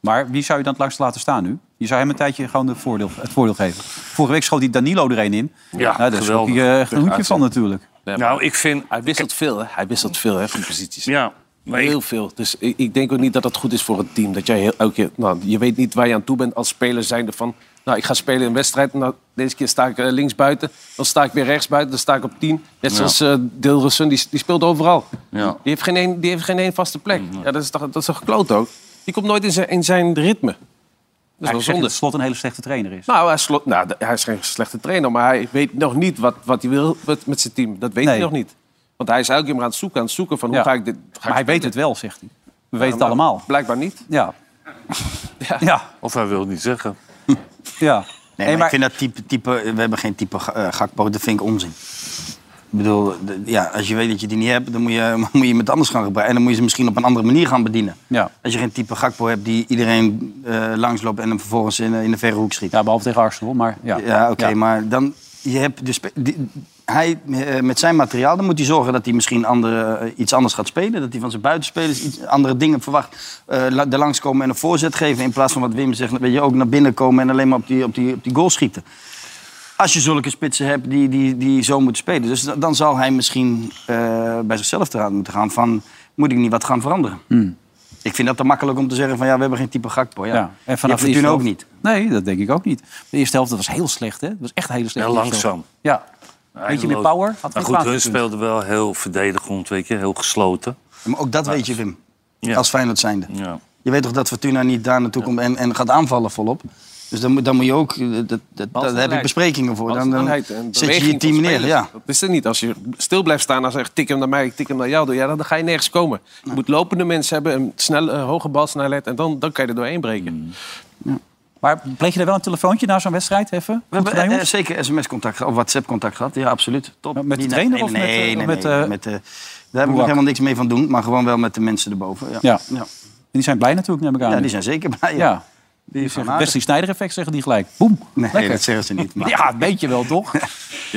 Maar wie zou je dan het langst laten staan nu? Je zou hem een tijdje gewoon de voordeel, het voordeel geven. Vorige week schoot die Danilo er een in.
Ja,
nou, daar schrok
geweldig.
je eh, een hoedje van natuurlijk.
Nou, ik vind...
Hij wisselt veel, hè? Hij wisselt veel, hè, van posities.
Ja, maar ik-
Heel veel. Dus ik, ik denk ook niet dat dat goed is voor het team. Dat jij heel, elke keer, nou, je weet niet waar je aan toe bent als speler zijnde van... Nou, ik ga spelen in een wedstrijd. Nou, deze keer sta ik eh, links buiten. Dan sta ik weer rechts buiten. Dan sta ik op tien. Net zoals eh Dilrosun, die, die speelt overal.
Ja.
Die, heeft geen een, die heeft geen één vaste plek.
Mm,
Ja, dat is toch, dat is toch kloot ook? Die komt nooit in zijn, in zijn ritme. Dat is
Hij zegt dat
wel zonde.
het slot een hele slechte trainer is.
Nou, hij, slot, nou, d- hij is geen slechte trainer, maar hij weet nog niet wat, wat hij wil met, met zijn team. Dat weet
Nee.
hij nog niet. Want hij is elke keer maar aan het zoeken, aan het zoeken van hoe
Ja.
ga ik dit... Ga ik
maar hij weet het wel, zegt hij. We weten het allemaal.
Oh, Blijkbaar niet.
Ja. Ja. Ja.
Of hij wil het niet zeggen.
ja.
Nee,
Hey,
maar, ik vind dat type, type... We hebben geen type eh Gakpo, dat vind ik onzin. Ik bedoel, de- ja, als je weet dat je die niet hebt, dan moet je, <laughs> moet je iemand anders gaan gebruiken. En dan moet je ze misschien op een andere manier gaan bedienen.
Ja.
Als je geen type Gakpo hebt die iedereen eh, langsloopt en hem vervolgens in, in de verre hoek schiet.
Ja, behalve tegen Arsenal, maar ja.
Ja, oké, maar dan... Je hebt dus, hij, eh, met zijn materiaal dan moet hij zorgen dat hij misschien andere, eh, iets anders gaat spelen. Dat hij van zijn buitenspelers iets, andere dingen verwacht. Eh la- er langskomen en een voorzet geven. In plaats van wat Wim zegt, weet je, ook naar binnen komen en alleen maar op die, op die, op die goal schieten. Als je zulke spitsen hebt die, die, die zo moeten spelen. Dus da- dan zal hij misschien eh, bij zichzelf te raad moeten gaan van... moet ik niet wat gaan veranderen? Ik vind dat te makkelijk om te zeggen van ja, we hebben geen type Gakpo. Ja.
Hmm. Ja.
En
vanaf
vanaf
de
Fortuna
eerste
ook
helft-
niet.
Nee, dat denk ik ook niet. De eerste helft dat was heel slecht, hè? Dat was echt een hele slechte
Heel
eerste helft.
langzaam.
Ja. Beetje meer power. Had
maar
geen
goed,
kwaad
hun
gekund.
speelden wel heel verdedigend, weet je. Heel gesloten.
Maar ook dat weet je, Wim.
Ja.
Als Feyenoord zijnde.
Ja.
Je weet toch dat Fortuna niet daar naartoe komt en, en gaat aanvallen volop. Dus dan, moet- dan moet je ook, eh, dat, dat, daar heb ik
Balsnelheid.
besprekingen voor. Dan, dan
Balsnelheid en
zet je
beweging
je team
van
neer.
spelers.
Ja.
Dat is het niet. Als je stil blijft staan en zegt tik hem naar mij, ik tik hem naar jou. Ja, dan dan ga je nergens komen. Je moet lopende mensen hebben, een snelle, een hoge balsnelheid. En dan, dan kan je er doorheen breken.
Maar pleeg je er wel een telefoontje na zo'n wedstrijd even?
We hebben eh, zeker sms-contact of WhatsApp-contact gehad. Ja, absoluut. Top.
Ja, met de
Niet-
trainer
nee,
of met,
nee,
eh,
nee, nee,
met,
nee,
eh,
met, eh, daar heb ik
Boerak?
helemaal niks mee van doen, maar gewoon wel met de mensen erboven. Ja,
Ja.
ja.
Die zijn blij natuurlijk, neem ik aan.
Ja, die zijn zeker blij.
Ja.
Die zijn
Het Wesley Sneijder effect zeggen die gelijk. Boem.
Nee,
Lekker.
dat zeggen ze niet. Maar...
Ja, een beetje wel,
<laughs>
toch?
Je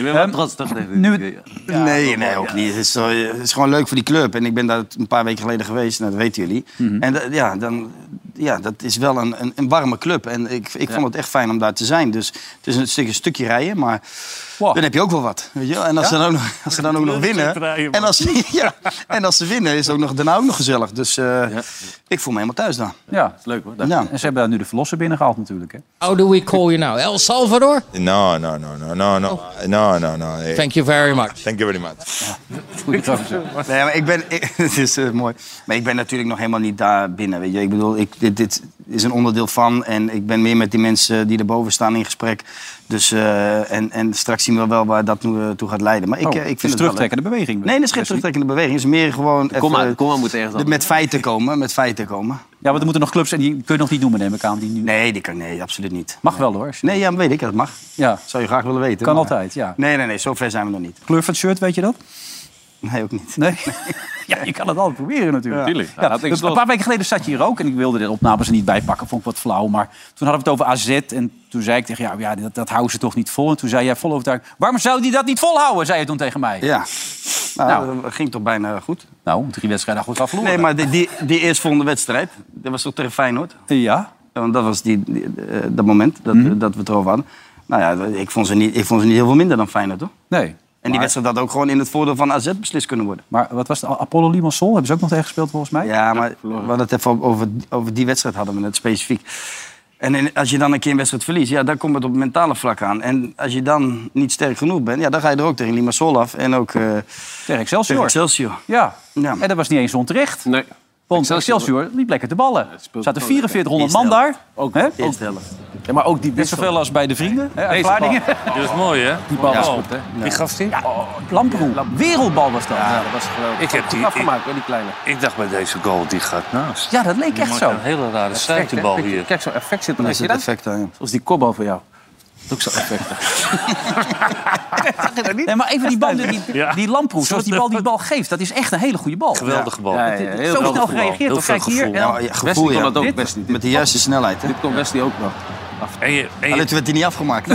bent wel
Ehm,
trots, toch? tegen dit?
nu-
nee, nee, ook niet. Het is, zo- het is gewoon leuk voor die club. En ik ben daar een paar weken geleden geweest, nou, dat weten jullie. En dat- ja, dan, ja, dat is wel een, een, een warme club. En ik, ik vond het echt fijn om daar te zijn. Dus het is een stukje, stukje rijden, maar
Wow.
dan heb je ook wel wat. Weet je? wel. En als, ze dan, ook nog- als ze dan ook nog winnen...
stukje rijden,
en, als, <laughs> ja, en als ze winnen, is het ook nog, daarna ook nog gezellig. Dus eh, ik voel me helemaal thuis daar.
Ja, is leuk hoor.
Ja.
En ze hebben daar nu de verlosser binnengehaald natuurlijk. Hè?
How do we call you now? El Salvador?
No, no, no, no, no, no, no, no, no. Eh,
Thank you very much.
Thank you very much.
Goeie gozer.
Nee, maar <laughs> ik ben... ik- het is eh, mooi. Maar ik ben natuurlijk nog helemaal niet daar binnen, weet je. Ik bedoel, ik, dit, dit is een onderdeel van... en ik ben meer met die mensen die erboven staan in gesprek. Dus, eh, en, en straks zien we wel waar dat nu, eh, toe gaat leiden. Maar ik,
Oh,
eh, ik
het
vind
is
het wel leuk.
terugtrekkende beweging.
Nee, dat is geen terugtrekkende beweging. Het is meer gewoon...
Kom
even,
maar, kom maar, moet ergens
de-
anders.
Met feiten komen, met feiten komen.
Ja, want er moeten nog clubs en die kun je nog niet noemen, neem ik aan. Die nu...
Nee, die kan, nee, absoluut niet.
Mag wel hoor. als je-
Nee, ja, weet ik, dat mag.
Ja.
Zou je graag willen weten.
Kan
maar-
altijd, ja.
Nee, nee, nee, zover zijn we nog niet.
Kleur van het shirt, weet je dat?
Nee, ook niet.
Nee. <laughs> ja, je kan het altijd proberen natuurlijk. Ja. dus
Tuurlijk. Ja, dat denk ik
een
wel.
paar weken geleden zat je hier ook en ik wilde de opnames er niet bij pakken. Vond ik wat flauw. Maar toen hadden we het over AZ en toen zei ik tegen jou, ja, dat, dat houden ze toch niet vol. En toen zei jij vol overtuigd, waarom zou die dat niet volhouden, zei je toen tegen mij.
Ja.
Nou.
nou, dat ging toch bijna goed.
Nou, drie wedstrijden goed afloren.
Nee, maar die, die, die eerstvolgende wedstrijd, dat was toch tegen Feyenoord?
Ja,
Want dat was die, die- eh, dat moment dat, dat we het erover hadden. Nou ja, ik vond, ze niet, ik vond ze niet heel veel minder dan Feyenoord, hoor.
nee.
En die wedstrijd had ook gewoon in het voordeel van AZ beslist kunnen worden.
Maar wat was het? Apollo Limassol hebben ze ook nog tegen gespeeld volgens mij?
Ja, maar we hadden het even over, over die wedstrijd hadden we het specifiek. En in- als je dan een keer een wedstrijd verliest, ja, dan komt het op het mentale vlak aan. En als je dan niet sterk genoeg bent, ja, dan ga je er ook tegen Limassol af en ook eh
Tegen
tegen
Excelsior.
Excelsior.
Ja.
Ja.
en dat was niet eens onterecht.
Nee.
Want Excelsior liep lekker te ballen. Er zaten
gewoon
4400
lekker.
man daar.
Eerste
Ook eerst Ja, maar ook die Net zoveel als bij de vrienden. Hè, uit
Deze
Vlaardingen.
bal. Dit is mooi, hè?
Die bal was
Oh.
goed, hè?
Wie gaf die?
Ja, Lamproe. Wereldbal was dat. Ja, dat was geweldig.
Ik heb die...
Afgemaakt,
die kleine. Ik dacht bij deze goal, die gaat naast.
Ja, dat leek
Die
echt
maakt
zo.
Een hele rare
Effect, hè?
stuiterbal
Kijk,
hier.
Kijk, zo'n effect zit er.
Dan
Zie je
zit
dat?
effect
Zoals die kopbal voor jou. Dat is ook zo'n effect.
Nee, maar even die bal, die, die, die Lamproe, zoals die bal die bal geeft, dat is echt een hele goede bal.
Geweldige bal.
Ja, ja, ja, heel Zo snel gereageerd. toch? Kijk hier.
Ja, maar ja, gevoel, ja.
kon dat ook
Dit-
best niet.
Met de juiste snelheid. Dit
kon Wesley ook nog.
En je, en je-
Alleen toen werd hij niet afgemaakt.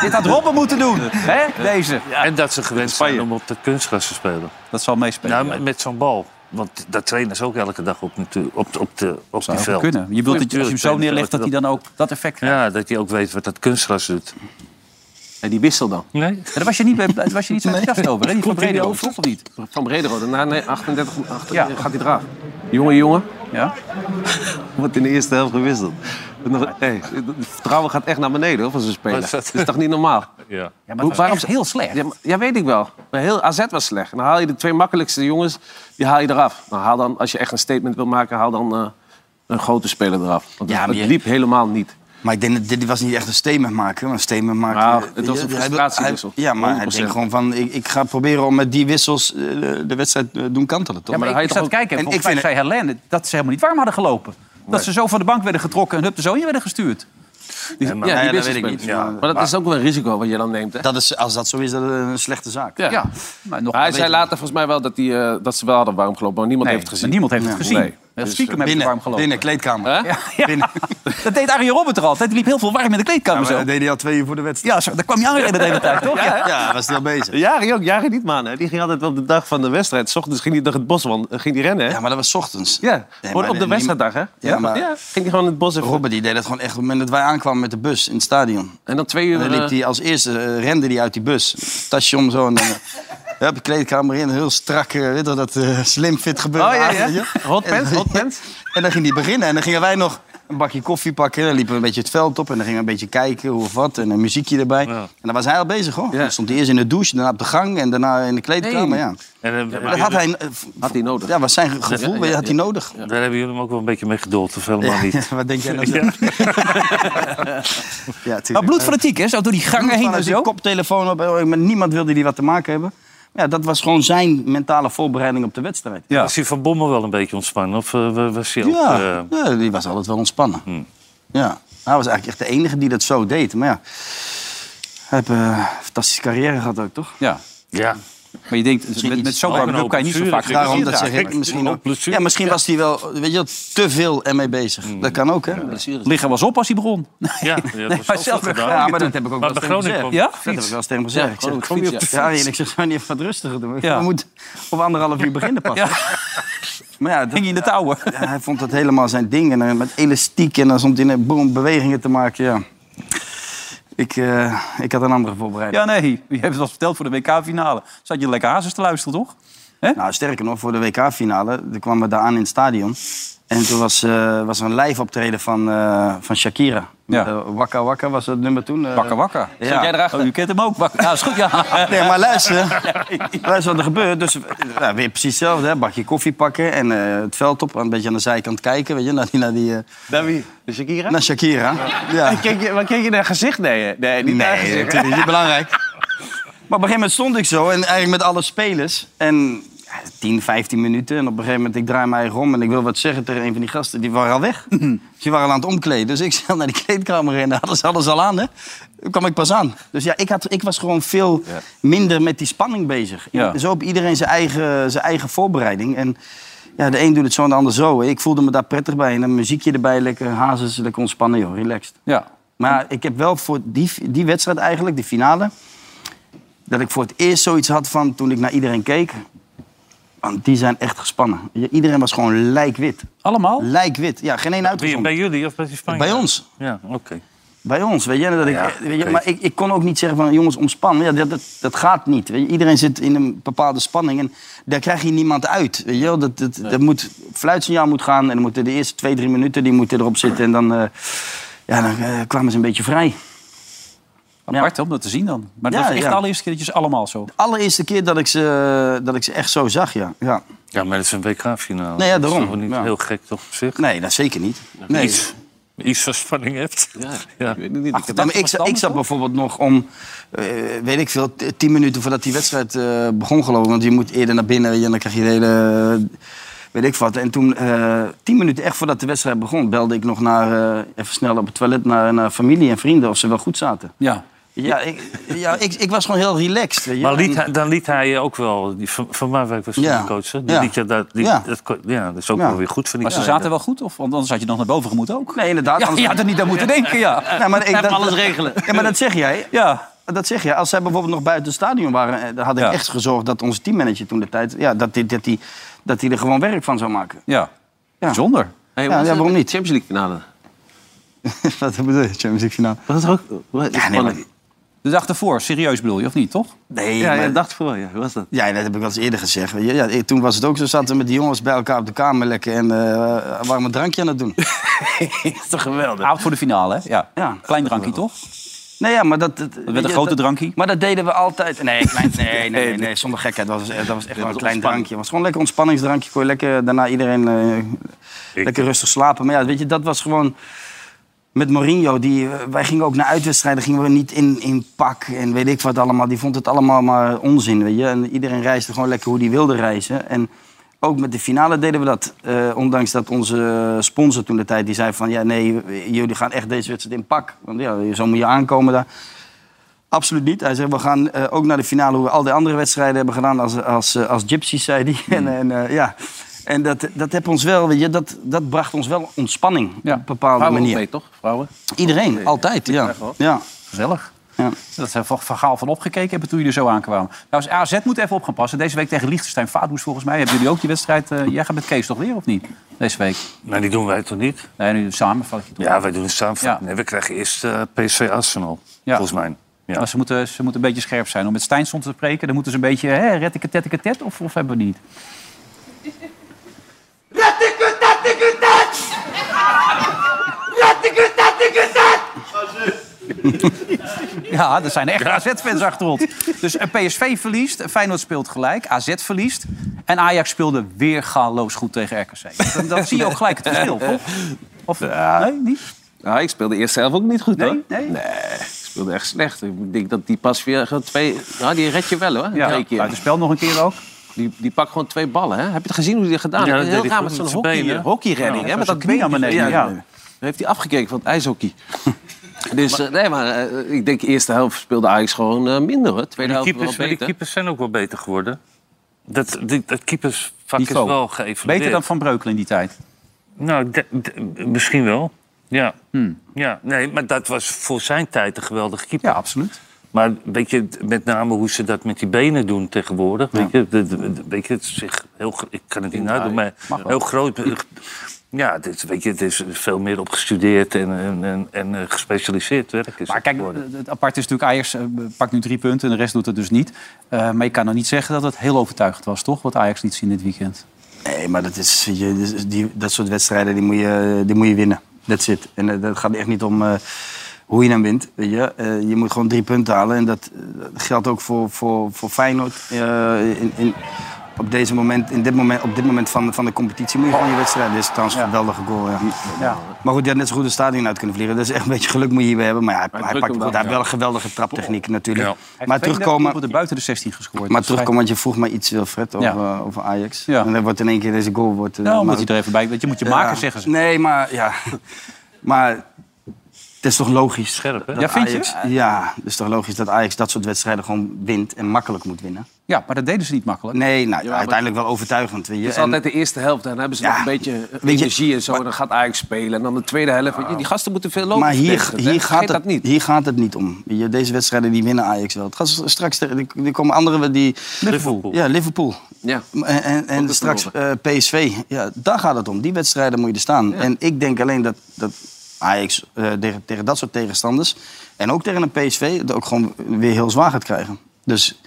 Dit had Robben moeten doen, hè? Deze.
Ja, en dat ze gewend zijn om op de kunstgras te spelen.
Dat zal meespelen.
Nou, met- met zo'n bal. Want daar trainen ze ook elke dag op, natuurlijk, op, op, de, op die
heel
veld.
goed kunnen. Je wilt dat je- als je hem zo neerlegt, dat hij dan ook dat effect
krijgt. Ja, dat hij ook weet wat dat kunstgras doet.
En die wissel dan?
Nee.
Daar was je niet, bij, daar was je niet zo enthousiast over, hè? Die van
Komt hij
Brederode,
over?
toch of niet?
Van Brederode, na nee, 38 achter,
Ja.
eh, gaat hij eraf. Jongen, jongen. <laughs>
Ja.
Wordt in de eerste helft gewisseld. Nog- hey, het vertrouwen gaat echt naar beneden hoor, van zo'n speler.
Wat is dat?
Dat is toch niet normaal?
Ja.
maar het was
waarom
echt
ze-
heel slecht.
Ja, maar- ja, weet ik wel. Maar heel AZ was slecht. Dan haal je de twee makkelijkste jongens, die haal je eraf. Nou, haal dan, als je echt een statement wil maken, haal dan eh, een grote speler eraf. Want
Ja,
het,
maar
het
je-
liep helemaal niet.
Maar ik denk, dat dit was niet echt een statement maken. Maar een statement maken... eh,
Nou, het was een
Hij- hij-
frustratiewissel.
Ja, maar hij
100%.
denkt gewoon van... Ik, ik ga proberen om met die wissels eh, de, de wedstrijd eh, doen kantelen, toch?
Ja, maar, ik, ik zat te kijken en
En ik
volgens mij zei
vind
Helene dat ze helemaal niet warm hadden gelopen. Dat
Nee.
ze zo van de bank werden getrokken en hup de zoon werden gestuurd.
Die,
maar-
ja,
Ja,
die
dat
wissel
weet ik
spelen.
niet. Ja.
Maar dat is ook wel een risico wat je dan neemt. Hè?
Dat is, als dat zo is, dat is een slechte zaak.
Ja.
Maar nog
Maar hij
weet
zei
ik
later volgens mij wel dat, die, eh, dat ze wel hadden warm gelopen, maar niemand
Nee,
heeft het
maar
gezien.
niemand heeft het gezien.
Nee.
Ja,
Dus,
stiekem
eh,
hebben ze warm
Binnen,
gelopen.
binnen, kleedkamer.
Hè?
Ja, <laughs> dat deed Arjen Robben er altijd. Die liep heel veel warm in de kleedkamer
Maar
zo.
dat deed hij al twee uur voor de wedstrijd.
Ja, zo, daar kwam je aan de hele tijd, toch? Ja, hè?
Ja, was hij al bezig.
Jari ook, Jari niet, man. Hè. Die ging altijd op de dag van de wedstrijd. 's ochtends ging hij door het bos wand- eh, ging die rennen. Hè?
Ja, maar dat was 's ochtends.
Ja,
Nee,
gewoon
maar
op de
die-
wedstrijddag, hè? Ja,
maar-
ja, ging hij gewoon het bos even.
Robert die deed dat gewoon echt op het moment dat wij aankwamen met de bus in het stadion.
En dan twee uur...
En dan liep
eh,
hij als eerste, eh, rende hij uit die bus. Tasje om zo en dan... eh, Hup, de kleedkamer in, heel strak, eh, weet je wel, dat eh, slim fit gebeuren.
Oh, ja, ja.
aan, weet je wel.
Hot pants,
En-
hot pants.
<laughs> En dan ging hij beginnen en dan gingen wij nog een bakje koffie pakken. Dan liepen we een beetje het veld op en dan gingen we een beetje kijken hoe of wat. En een muziekje erbij. En dan was hij al bezig, hoor. Dan stond hij eerst in de douche, daarna op de gang en daarna in de kleedkamer,
Nee.
ja.
En, eh,
Maar dat had hij, eh, v-
Had hij nodig.
ja, was zijn ge- gevoel,
Ja,
maar dat
ja,
had hij
ja.
nodig.
Daar hebben jullie hem ook wel een beetje mee geduld, of helemaal
Ja, <laughs>
niet.
wat denk jij nou?
Ja.
Ja, tuurlijk.
Maar bloedfanatiek, hè? Zo door die gangen heen en
Vanuit die
zo.
koptelefoon op. eh, met Niemand wilde die wat te maken hebben. Ja, dat was gewoon zijn mentale voorbereiding op de wedstrijd.
Ja.
Was hij van Bommel wel een beetje ontspannen? Of eh, wa- was hij ook...
Ja,
eh,
ja, die was altijd wel ontspannen. Ja. Hij was eigenlijk echt de enige die dat zo deed. Maar ja, hij heeft eh, een fantastische carrière gehad ook, toch?
Ja.
ja.
Maar je denkt, met, met zo'n
Ook een
warm
hoop
kan je niet zo
blessure,
vaak
natuurlijk.
Daarom dat zeg
Ja,
ik misschien
ook
ook.
blessure.
Ja, misschien was hij wel weet je, wel, te veel ermee bezig. Dat kan ook, hè?
Liggen was op als hij begon. <laughs>
Ja, dat
maar
was ook
zelf-
wel gedaan.
Ja, maar dat heb ik ook
Maar
wel eens
bij
tegen hem
Groningen
gezegd.
Ja?
kwam
Dat heb ik wel eens tegen hem gezegd.
Ja,
Ik zeg,
gewoon
kom je op de
fiets,
fiets?
ja.
Ja, en ik zeg, zou je niet even wat rustiger doen?
Ja.
We moeten op anderhalf uur beginnen pas. <laughs> Maar ja, dat-
Hing je in de touwen.
Ja, hij vond dat helemaal zijn ding. En eh, met elastiek en dan stond hij in boom bewegingen te maken. Ja. Ik, eh, ik had een andere voorbereiding.
Ja, nee. Je hebt het al verteld voor de WK-finale. Zat je lekker hazes te luisteren, toch?
Nou, sterker nog, voor de WK-finale toen kwamen we daar aan in het stadion. En toen was, eh, was er een live optreden van, eh, van Shakira.
Ja.
Eh, Waka Waka was dat nummer toen. eh.
Wakker, wakker.
Ja. Ah,
Zat jij erachter? Oh, je kent hem ook. Wakker. Ja, is goed.
<laughs>
Ja.
Nee, maar luister. <laughs> luister wat er gebeurt. Dus eh, nou, weer precies hetzelfde. Hè. Bakje koffie pakken en eh, het veld op. Een beetje aan de zijkant kijken. Weet je, naar die, naar, die, eh,
Naar wie? De Shakira?
naar Shakira. Ja.
Kijk je, maar keek je naar gezicht? Nee, hè? nee niet naar
Nee,
gezicht.
natuurlijk niet belangrijk. Maar op een gegeven moment stond ik zo en eigenlijk met alle spelers. En ja, 10, 15 minuten. En op een gegeven moment, ik draai mij om en ik wil wat zeggen tegen een van die gasten. Die waren al weg. Die waren al aan het omkleden. Dus ik <laughs> snel naar die kleedkamer en daar hadden ze alles al aan. Hè. Toen kwam ik pas aan. Dus ja, ik, had, ik was gewoon veel minder met die spanning bezig.
Ja.
Zo op iedereen zijn eigen, zijn eigen voorbereiding. En ja, de een doet het zo en de ander zo. Ik voelde me daar prettig bij. En een muziekje erbij, lekker hazes, lekker ontspannen, joh. Relaxed.
ja.
Maar ik heb wel voor die, die wedstrijd eigenlijk, die finale... dat ik voor het eerst zoiets had van toen ik naar iedereen keek. Want die zijn echt gespannen. Je- Iedereen was gewoon lijkwit.
Allemaal?
Lijkwit. Ja, geen één
Bij,
uitgezonderd.
bij jullie of bij die Spanje?
Bij ons.
Ja, oké.
Bij ons, weet je. Dat ik,
Ja,
weet je
oké.
Maar ik, ik kon ook niet zeggen van jongens, ontspannen. Ja, dat, dat, dat gaat niet. Weet je. Iedereen zit in een bepaalde spanning en daar krijg je niemand uit. Weet je. wel. Dat, dat, dat moet, fluitsignaal moet gaan en dan moeten de eerste twee, drie minuten die moeten erop zitten. En dan, eh, ja, dan eh, kwamen ze een beetje vrij.
Apart hè, om dat te zien dan. Maar dat
Ja,
was echt
ja.
de allereerste keer dat je ze allemaal zo...
Allereerste keer dat ik ze, dat ik ze echt zo zag, ja. ja.
Ja, maar dat is een WK-finale.
Nee, ja,
Dat is
daarom.
toch niet
Ja.
heel gek toch op zich?
Nee, dat zeker niet. Nee.
Iets, iets van spanning hebt. <laughs> Ja.
Ik, heb- maar ik, zat- ik zat bijvoorbeeld nog om, eh, weet ik veel, t- tien minuten voordat die wedstrijd eh, begon geloof ik. Want je moet eerder naar binnen weet je, en dan krijg je de hele, eh, weet ik wat. En toen, eh, tien minuten echt voordat de wedstrijd begon, belde ik nog naar, eh, even snel op het toilet naar, naar familie en vrienden of ze wel goed zaten.
Ja.
Ja, ik, ja ik, ik was gewoon heel relaxed. Weet je.
Maar liet
En-
hij- dan liet hij je ook wel... die- Van, van mij werk was
Ja.
ja. coach. hè? Die
Ja.
liet je dat, die-
Ja.
dat, ko- ja, dat is ook
Ja.
wel weer goed van die
Maar ze
tijden.
zaten wel goed, of? Want anders had je nog naar boven gemoet ook.
Nee, inderdaad.
Ja,
anders-
je had er niet aan moeten denken, ja.
<laughs> Ja, maar ik,
Even
dat-
alles regelen.
Ja, maar dat zeg jij.
Ja.
Dat zeg je. Als zij bijvoorbeeld nog buiten het stadion waren, eh, dan had ik
Ja.
echt gezorgd dat onze teammanager toen de tijd, ja, dat hij dat die, dat die er gewoon werk van zou maken. <laughs>
Ja. Bijzonder.
Hey, hoe Ja, is ja, het waarom met
niet? Champions League finale.
Wat bedoel je, Champions League finale?
Dat is ook...
Ja, nee, maar,
De dag ervoor, serieus bedoel je, of niet, toch?
nee,
Ja,
maar-
ja, dacht voor, ja. Hoe was dat?
Ja, dat heb ik wel eens eerder gezegd. weet je. Ja, ik- toen was het ook zo, zaten we met die jongens bij elkaar op de kamer lekker en eh waren we een drankje aan het doen.
is toch geweldig? Oud voor de finale, hè? Ja.
Ja.
Klein drankje, toch?
Nee, ja, maar dat... Dat,
werd een grote drankie?
Maar dat deden we altijd. Nee, klein, nee, nee, nee, nee, zonder gekheid. Dat was, eh, dat was echt wel een klein drankje. Het was gewoon lekker ontspanningsdrankje. Kon je lekker daarna iedereen eh, lekker rustig slapen. Maar ja, weet je, dat was gewoon... Met Mourinho, die, eh, wij gingen ook naar uitwedstrijden, gingen we niet in, in pak en weet ik wat allemaal. Die vond het allemaal maar onzin, weet je. En iedereen reisde gewoon lekker hoe die wilde reizen. En ook met de finale deden we dat. Eh, ondanks dat onze sponsor toen de tijd, die zei van... Ja, nee, jullie gaan echt deze wedstrijd in pak. Want ja, zo moet je aankomen daar. Absoluut niet. Hij zegt, we gaan eh, ook naar de finale hoe we al die andere wedstrijden hebben gedaan als, als, eh, als gypsies, zei hij. En, en, eh, ja. en dat, dat, heb ons wel, weet je, dat, dat bracht ons wel ontspanning op een bepaalde
Vrouwen ook
manier.
mee, toch? Vrouwen?
Iedereen, altijd, ja. ja.
Gezellig.
Ja.
Dat ze van Gaal van opgekeken hebben toen jullie er zo aankwamen. Nou, Trouwens, AZ moet even op gaan passen. Deze week tegen Liechtenstein Vaardoes volgens mij. Hebben jullie ook die wedstrijd... eh, jij gaat met Kees toch weer, of niet? Deze week.
Nou, die doen wij toch niet?
Nee, nu samen. vat je toch?
Ja, wij doen een samenvatting. Nee, we krijgen eerst eh, PSV Arsenal,
Ja.
volgens mij. Ja.
Maar Ze, moeten, ze moeten een beetje scherp zijn. Om met Stijnson te spreken, dan moeten ze een beetje... Hè, rettike, tettike, tet, of, of hebben we niet? <laughs> Ja, er zijn echt AZ-fans achter ons. Dus eh, PSV verliest, Feyenoord speelt gelijk, AZ verliest... en Ajax speelde weer galoos goed tegen RKC. Dat, dat zie je ook gelijk het verschil, toch? Of, Nee, niet?
Nou, ik speelde eerst zelf ook niet goed, hoor.
Nee?
ik speelde echt slecht. Ik denk dat die pas weer twee... Nou, die red je wel, hoor.
Ja,
Twee keer.
uit het spel nog een keer ook.
Die, die pakt gewoon twee ballen, hè? Heb je het gezien hoe hij dat gedaan
Ja,
heeft?
dat
Heel
deed
raar
hij
met
goed
zo'n
met zijn
hockey,
benen, hè?
hockeyredding,
Ja,
hè? Met
zo'n
dat
knie
been.
aan beneden, ja.
Dan heeft hij afgekeken van het <laughs> ijshockey. Dus eh, nee, maar eh, ik denk de eerste helft speelde Ajax gewoon eh, minder, hoor. Tweede
Die
helft wel
keepers, maar die
beter.
keepers zijn ook wel beter geworden. Dat, die, dat keepersvak is
Niveau.
wel geëvalueerd.
Beter dan Van Breukelen in die tijd.
Nou, ik denk- d- misschien wel. Ja. ja. Nee, maar dat was voor zijn tijd een geweldige keeper.
Hmm. Ja, absoluut.
Maar weet je, met name hoe ze dat met die benen doen tegenwoordig. Weet je, de- de- de- weet je het is zich heel, gro- ik kan het niet nadoen, maar heel groot. eh, Ja, dit, weet je, het is veel meer op gestudeerd en, en, en, en eh, gespecialiseerd werk. Is
Maar
het
kijk,
geworden.
eh, het apart is natuurlijk... Ajax eh, pakt nu drie punten en de rest doet het dus niet. Eh, maar je kan nog niet zeggen dat het heel overtuigend was, toch? Wat Ajax liet zien dit weekend.
Nee, maar dat, is, weet je, dus die, dat soort wedstrijden die moet je, die moet je winnen. That's it. En eh, dat gaat echt niet om eh, hoe je hem wint. Weet je? Eh, je moet gewoon drie punten halen. En dat eh, geldt ook voor, voor, voor Feyenoord. Eh, in, in, op, deze moment, in dit moment, op dit moment van, van de competitie moet je gewoon je wedstrijd. Dit is trouwens een geweldige goal. Ja.
Ja.
Maar goed, die had net zo goed de stadion uit kunnen vliegen. Dat is echt een beetje geluk moet je hierbij hebben. Maar ja, hij, hij,
drukt
pakt
hem
goed.
wel,
Hij
ja.
heeft wel een geweldige traptechniek natuurlijk.
Ja.
Maar terugkomen...
Hij buiten de 16 gescoord.
Maar terugkomen, want je vroeg mij iets, Wilfred, over, eh, over Ajax.
Ja.
En dan wordt in één keer deze goal... Wordt, eh,
Nou,
maar-
omdat hij er even bij... Want je moet je maken, zeggen ze.
Nee, maar ja. <laughs> maar het is toch logisch.
Scherp, hè?
dat
Ja, vind je?
Ajax, Ja, het is toch logisch dat Ajax dat soort wedstrijden gewoon wint en makkelijk moet winnen.
Ja, maar dat deden ze niet makkelijk.
Nee, nou,
maar-
uiteindelijk wel overtuigend. Weet je.
Het is
En-
altijd de eerste helft, dan hebben ze
Ja,
nog een beetje
weet je,
energie en zo. en dan gaat Ajax spelen. En dan de tweede helft. weet je, die gasten moeten veel lopen.
maar hier,
verdedigen, hè.
hier, gaat
Vergeet
het,
dat niet.
hier gaat het niet om. Weet je, Deze wedstrijden die winnen Ajax wel. Het gaat s- straks, tegen- er er komen anderen die...
eh,
Liverpool.
Ja, Liverpool.
Ja.
En, en, en
dat
straks eh, PSV. Ja, daar gaat het om. Die wedstrijden moet je er staan. En ik denk alleen dat, dat Ajax eh, tegen, tegen dat soort tegenstanders... en ook tegen een PSV, dat ook gewoon weer heel zwaar gaat krijgen. Dus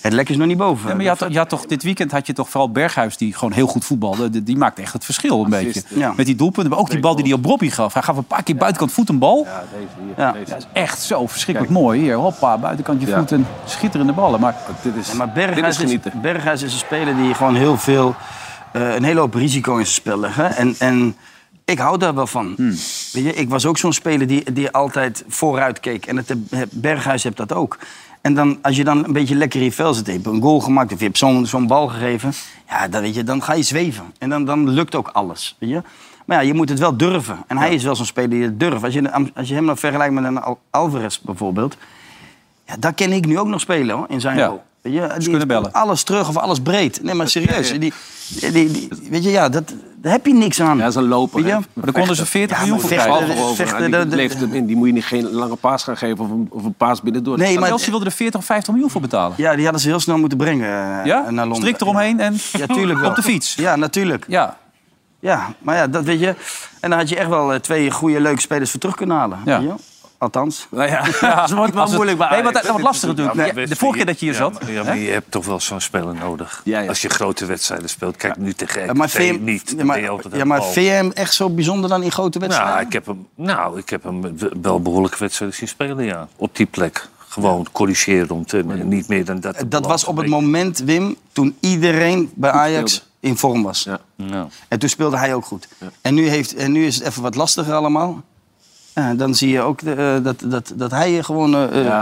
Het lek is nog niet boven.
Ja, maar je had, je had toch, dit weekend had je toch vooral Berghuis die gewoon heel goed voetbalde. Die, die maakte echt het verschil een beetje.
ja.
Met die doelpunten. Maar ook die bal die hij op Bobby gaf. Hij gaf een paar keer buitenkant voet een bal.
Ja, deze hier.
Ja,
Deze.
dat is echt zo verschrikkelijk mooi. Hier, hoppa, buitenkantje
Ja.
voet en schitterende ballen. Maar,
dit is,
maar Berghuis, is Berghuis is een speler die gewoon heel veel, eh, een hele hoop risico in zijn spel legt. hè. En, en ik hou daar wel van.
Hmm.
Weet je, ik was ook zo'n speler die, die altijd vooruit keek. En het, heb- Berghuis heeft dat ook. En dan, als je dan een beetje lekker in je vel zit, je hebt een goal gemaakt of je hebt zo'n zo'n bal gegeven, ja, dan, weet je, dan ga je zweven. En dan, dan lukt ook alles. Weet je? Maar ja, je moet het wel durven. En hij is wel zo'n speler die het durft. Als je, als je hem dan vergelijkt met een Al- Alvarez bijvoorbeeld, ja, dat ken ik nu ook nog spelen hoor, in zijn
Ja.
rol. Weet je, die
kunnen bellen.
komt Alles terug of alles breed. Nee, maar serieus. Die, die, die- weet je, ja, dat, daar heb je niks aan. Ja,
dat is een loper.
Weet je?
Maar dan konden ze 40 miljoen voor
vechten,
krijgen.
vechten,
eh, die
dat- dat-
levert hem in. Die moet je niet geen lange paas gaan geven of een, of een paas binnen door.
Nee, maar-
Chelsea wilde er 40 of 50 miljoen voor betalen.
Ja, die hadden ze heel snel moeten brengen eh,
Ja?
naar Londen.
Strik eromheen en
Ja, tuurlijk wel.
op de fiets.
Ja, natuurlijk.
Ja.
Ja, maar ja, dat weet je. En dan had je echt wel eh, twee goede, leuke spelers voor terug kunnen halen.
Ja.
Weet je? Althans.
Nou ja,
<laughs> het wordt wel
als het-
moeilijk bij
Nee, wat,
Ajax.
wat lastig
Ja,
natuurlijk.
maar
Ja,
best-
de vorige keer dat je hier
ja,
zat.
maar- Ja,
hè?
maar je hebt toch wel zo'n speler nodig. Als je grote wedstrijden speelt. Kijk, nu tegen
Ja,
RKC
maar vind je hem-
niet.
ja,
Dan ben je
maar,
altijd aan
ja,
de
maar
bal.
vind je hem echt zo bijzonder dan in grote wedstrijden?
Nou, ik heb hem, nou, ik heb hem wel behoorlijk wedstrijden zien spelen, ja. Op die plek. Gewoon corrigerend en eh, niet meer dan dat. de
Dat
bal
was op het
een
moment, Wim, toen iedereen bij Ajax
speelde.
in vorm was.
beetje- Ja.
En toen speelde hij ook goed. En, nu heeft, en nu is het even wat lastiger allemaal. Ja, dan zie je ook de, eh, dat, dat, dat hij gewoon eh, eh,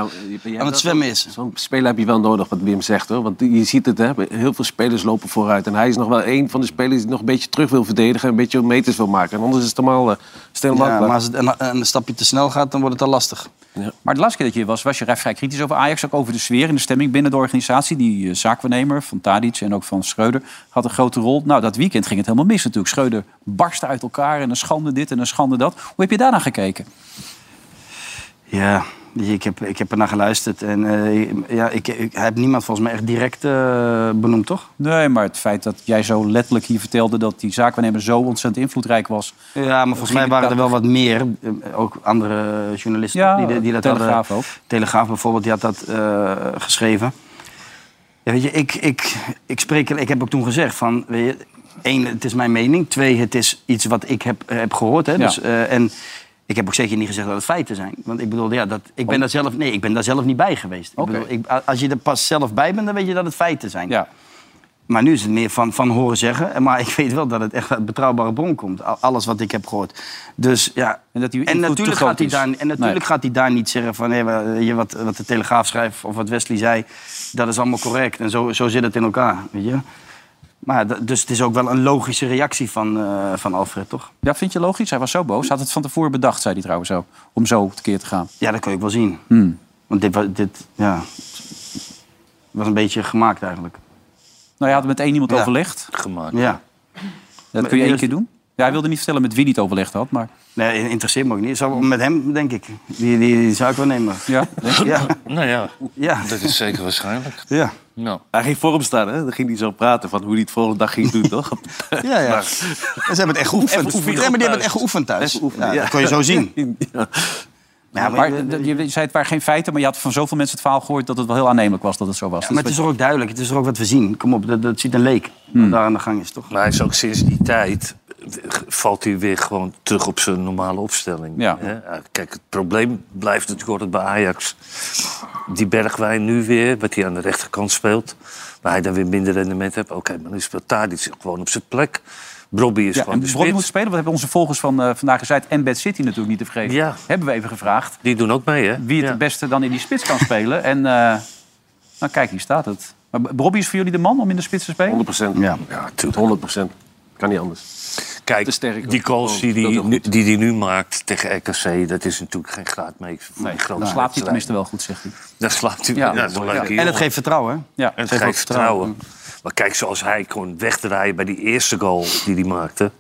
aan het zwemmen is.
Zo'n speler heb je wel nodig, wat Wim zegt hoor. Want je ziet het, hè? heel veel spelers lopen vooruit. En hij is nog wel een van de spelers die nog een beetje terug wil verdedigen. Een beetje meters wil maken. En anders is het allemaal eh, stil en
Ja,
makkelijk.
maar als het een, een stapje te snel gaat, dan wordt het al lastig.
Maar de laatste keer dat je hier was, was je vrij kritisch over Ajax. Ook over de sfeer en de stemming binnen de organisatie. Die eh, zaakwaarnemer van Tadic en ook van Schreuder had een grote rol. Nou, dat weekend ging het helemaal mis natuurlijk. Schreuder barstte uit elkaar en een schande dit en een schande dat. Hoe heb je daarna gekeken?
Ja, weet je, Dus ik heb, ik heb ernaar geluisterd. En eh, ja, ik, ik, hij heeft niemand volgens mij echt direct eh, benoemd, toch?
Nee, maar het feit dat jij zo letterlijk hier vertelde... dat die zaakwaarnemer zo ontzettend invloedrijk was...
Ja, maar volgens mij waren er wel wat meer. eh, Ook andere journalisten
Ja,
die, die dat
Telegraaf
hadden.
ook.
Telegraaf bijvoorbeeld, die had dat eh, geschreven. Ja, weet je, ik, ik, ik, spreek, ik heb ook toen gezegd van... Weet je, één, het is mijn mening. Twee, het is iets wat ik heb, heb gehoord. Hè,
Ja.
dus, eh, en ik heb ook zeker niet gezegd dat het feiten zijn. Want ik bedoel, ja, dat, ik, ben daar zelf, nee, ik ben daar zelf niet bij geweest.
Oké.
Ik bedoel, ik, als je er pas zelf bij bent, dan weet je dat het feiten zijn.
Ja.
Maar nu is het meer van, van horen zeggen. En Maar ik weet wel dat het echt uit betrouwbare bron komt. Al- Alles wat ik heb gehoord. Dus ja.
En, dat die
En
invloed te
natuurlijk,
groot
gaat hij,
is.
daar, en natuurlijk
Nee.
gaat hij daar niet zeggen van hé, wa- je, wat, wat de Telegraaf schrijft of wat Wesley zei, dat is allemaal correct. En zo, zo zit het in elkaar. Weet je? Maar dat- dus het is ook wel een logische reactie van, eh, van Alfred, toch?
Ja, vind je logisch? Hij was zo boos. Hij had het van tevoren bedacht, zei hij trouwens ook. Om zo tekeer te gaan.
Ja, dat kon je ook wel zien.
Hmm.
Want dit, wa- dit ja, was een beetje gemaakt eigenlijk.
Nou, je had met één iemand
Ja.
overlegd.
Gemaakt.
Ja.
Dat kun je één keer doen. Ja, hij wilde niet vertellen met wie hij het overlegd had, maar...
Nee, interesseert me ook niet. Zou- Met hem, denk ik. Die, die, die zou ik wel nemen.
Ja, <laughs>
Ja.
Nou ja,
Ja.
dat is zeker waarschijnlijk.
Ja.
Nou.
Hij ging voor hem staan, hè? Dan ging hij zo praten van hoe hij het volgende dag
<laughs>
ging doen, toch?
Ja, <laughs> ja. En ze hebben het echt geoefend.
Even oefenen.
Nee, maar die hebben het echt geoefend thuis.
Even
<laughs>
oefenen,
ja,
ja.
Dat kon je zo zien.
Ja.
Ja,
Maar
maar,
d- je zei het waren geen feiten, maar je had van zoveel mensen het verhaal gehoord dat het wel heel aannemelijk was dat het zo was. Dus
maar het is toch ook duidelijk. Het is toch ook wat we zien. Kom op, dat, dat ziet een leek. Wat daar aan de gang is, toch?
Maar hij is ook sinds die tijd eh, valt hij weer gewoon terug op zijn normale opstelling.
Ja.
hè. Eh, Kijk, het probleem blijft natuurlijk altijd bij Ajax. Die Bergwijn nu weer, wat hij aan de rechterkant speelt. Waar hij dan weer minder rendement heeft. Oké, maar nu speelt Tadic gewoon op zijn plek. Brobby is
ja,
gewoon
en
de
Bobby
spits.
moet spelen, wat hebben onze volgers van eh, vandaag gezegd. En Bad City natuurlijk niet te vergeten.
Ja.
Hebben we even gevraagd
Die doen ook mee, hè?
wie het
Ja.
het beste dan in die spits kan spelen. En eh, nou kijk, hier staat het. Maar B- Bobby is voor jullie de man om in de spits te spelen?
100%.
Ja.
Ja, tuurlijk.
100%. Kan niet anders.
Kijk,
Te sterk
die
ook.
goals
Oh,
die
speelt
hij
heel
nu,
goed.
die die nu maakt tegen RKC... dat is natuurlijk geen graadmeter voor die grote
Dan slaapt Nou, hij
wedstrijden.
tenminste wel goed, zegt hij.
Daar slaapt hij
Ja.
ja, dat is een leuke
En
jongen.
het geeft vertrouwen, hè?
Ja.
En het
Geeft ook
geeft vertrouwen. Maar kijk, zoals hij kon wegdraaien bij die eerste goal die hij maakte.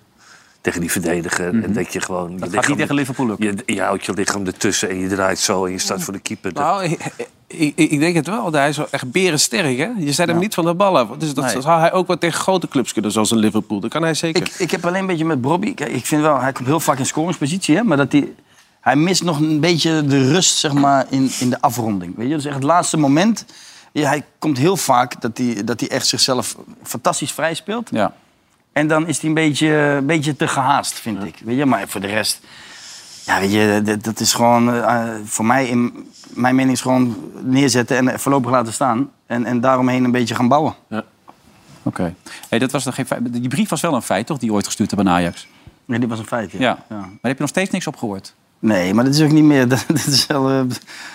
Tegen die verdediger. En Mhm. dat je gewoon. je
gaat
lichaam-
niet tegen Liverpool ook.
Je, je houdt je lichaam ertussen en je draait zo en je staat voor de keeper. Dat-
Nou, ik, ik, ik denk het wel. want Hij is wel echt berensterk, hè? Je zet hem niet van de bal af. Dus dat
Nee.
zou hij ook wel tegen grote clubs kunnen, zoals een Liverpool. Dat kan hij zeker.
Ik, ik heb alleen een beetje met Bobby. Kijk, ik vind wel, hij komt heel vaak in scoringspositie, hè? Maar dat hij, hij mist nog een beetje de rust, zeg maar, in, in de afronding. Weet je, dus echt het laatste moment. Ja, hij komt heel vaak dat hij, dat hij echt zichzelf fantastisch vrij speelt.
Ja.
En dan is hij een beetje, een beetje te gehaast, vind ik. Weet je? Maar voor de rest... Ja, weet je, dat, dat is gewoon... eh, voor mij, in, mijn mening is gewoon neerzetten en voorlopig laten staan. En, en daaromheen een beetje gaan bouwen.
Oké. Hey, dat was nog geen feit- die brief was wel een feit, toch? Die je ooit gestuurd hebben aan Ajax.
Nee, dit was een feit, ja.
Ja. Maar daar heb je nog steeds niks op gehoord?
Nee, maar dat is ook niet meer... <laughs> Dat, dat is wel, eh,
Ja, ik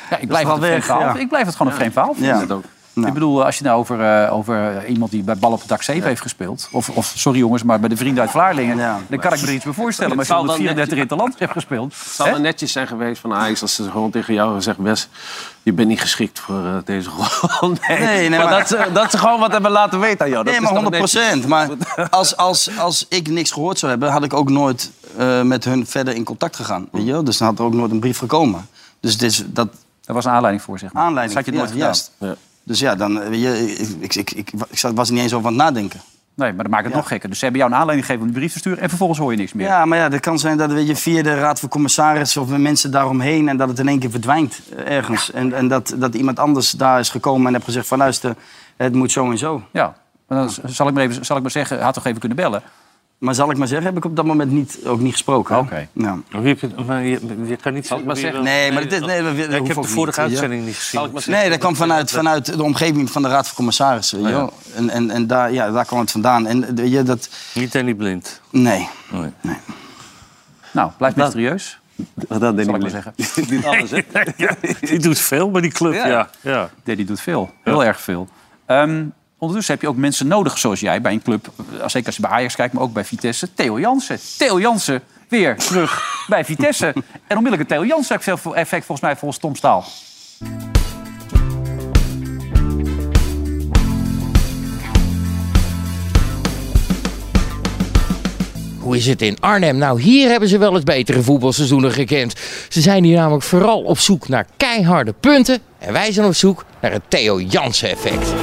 dat is
blijf
wel
het een vreemd
weg,
verhaal.
ja.
Ik blijf het gewoon een vreemd verhaal vinden.
Ja.
Dat ook. Ik bedoel, als je nou over, eh, over iemand die bij Bal op het dak 7 heeft gespeeld... Of, of, sorry jongens, maar bij de vrienden uit Vlaardingen... dan kan ik me er iets bij voorstellen. Maar
Het
als je
zal dan
134
net-
interlands hebt gespeeld...
Het zou
hè?
wel netjes zijn geweest van Ajax als ze gewoon tegen jou gezegd... Wes, je bent niet geschikt voor eh, deze rol. <laughs> nee,
Nee, nee,
maar,
maar-
Dat, ze, dat ze gewoon wat hebben laten weten aan jou. Dat
nee,
is
maar
toch
100
netjes?
Maar
<laughs>
als, als, als ik niks gehoord zou hebben, had ik ook nooit eh, met hun verder in contact gegaan. Weet je? wel? Dus dan had er ook nooit een brief gekomen. Dus het is, dat.
Dat was een aanleiding voor, zeg maar.
Aanleiding.
Dat had je nooit gedaan.
Dus ja, dan, eh, weet je, ik, ik, ik, ik, ik zat- was er niet eens over aan het nadenken.
Nee, maar dat maakt het nog gekker. Dus ze hebben jou een aanleiding gegeven om die brief te sturen... en vervolgens hoor je niks meer.
Ja, maar ja, dat kan zijn dat weet je, via de Raad van Commissarissen of met mensen daaromheen... en dat het in één keer verdwijnt eh, ergens. En, en dat, dat iemand anders daar is gekomen en heeft gezegd van... luister, het moet zo en zo.
Ja, maar dan z- zal ik maar, even, zal ik maar zeggen, had toch even kunnen bellen?
Maar zal ik maar zeggen, heb ik op dat moment niet, ook niet gesproken. Oké. Ja.
Wie heb je, maar je, je kan niet
maar zeggen? Nee, maar dit- nee, dat- dat
ik
hoeft
heb
ook
de vorige
niet, weet je.
uitzending niet gezien.
Nee, dat kwam vanuit, vanuit de omgeving van de Raad van Commissarissen. weet je
Ja.
wel. En, en, en daar, ja, daar kwam het vandaan. En eh, weet je, dat...
Niet en niet blind.
Nee.
Nee.
Nou, blijf mysterieus.
Dat denk
zal ik
ik
maar
niet.
zeggen.
Niet alles, hè?
<laughs> Ja, die doet veel bij die club,
Ja.
ja. ja. ja.
Daddy doet veel. Heel erg veel. Ehm, ondertussen heb je ook mensen nodig zoals jij bij een club. eh, Zeker als je bij Ajax kijkt, maar ook bij Vitesse. Theo Jansen. Theo Jansen weer <laughs> terug bij Vitesse. En onmiddellijk een Theo Jansen effect effect volgens mij volgens Tom Staal.
Hoe is het in Arnhem? Nou, hier hebben ze wel eens betere voetbalseizoenen gekend. Ze zijn hier namelijk vooral op zoek naar keiharde punten. En wij zijn op zoek naar het Theo Jansen-effect.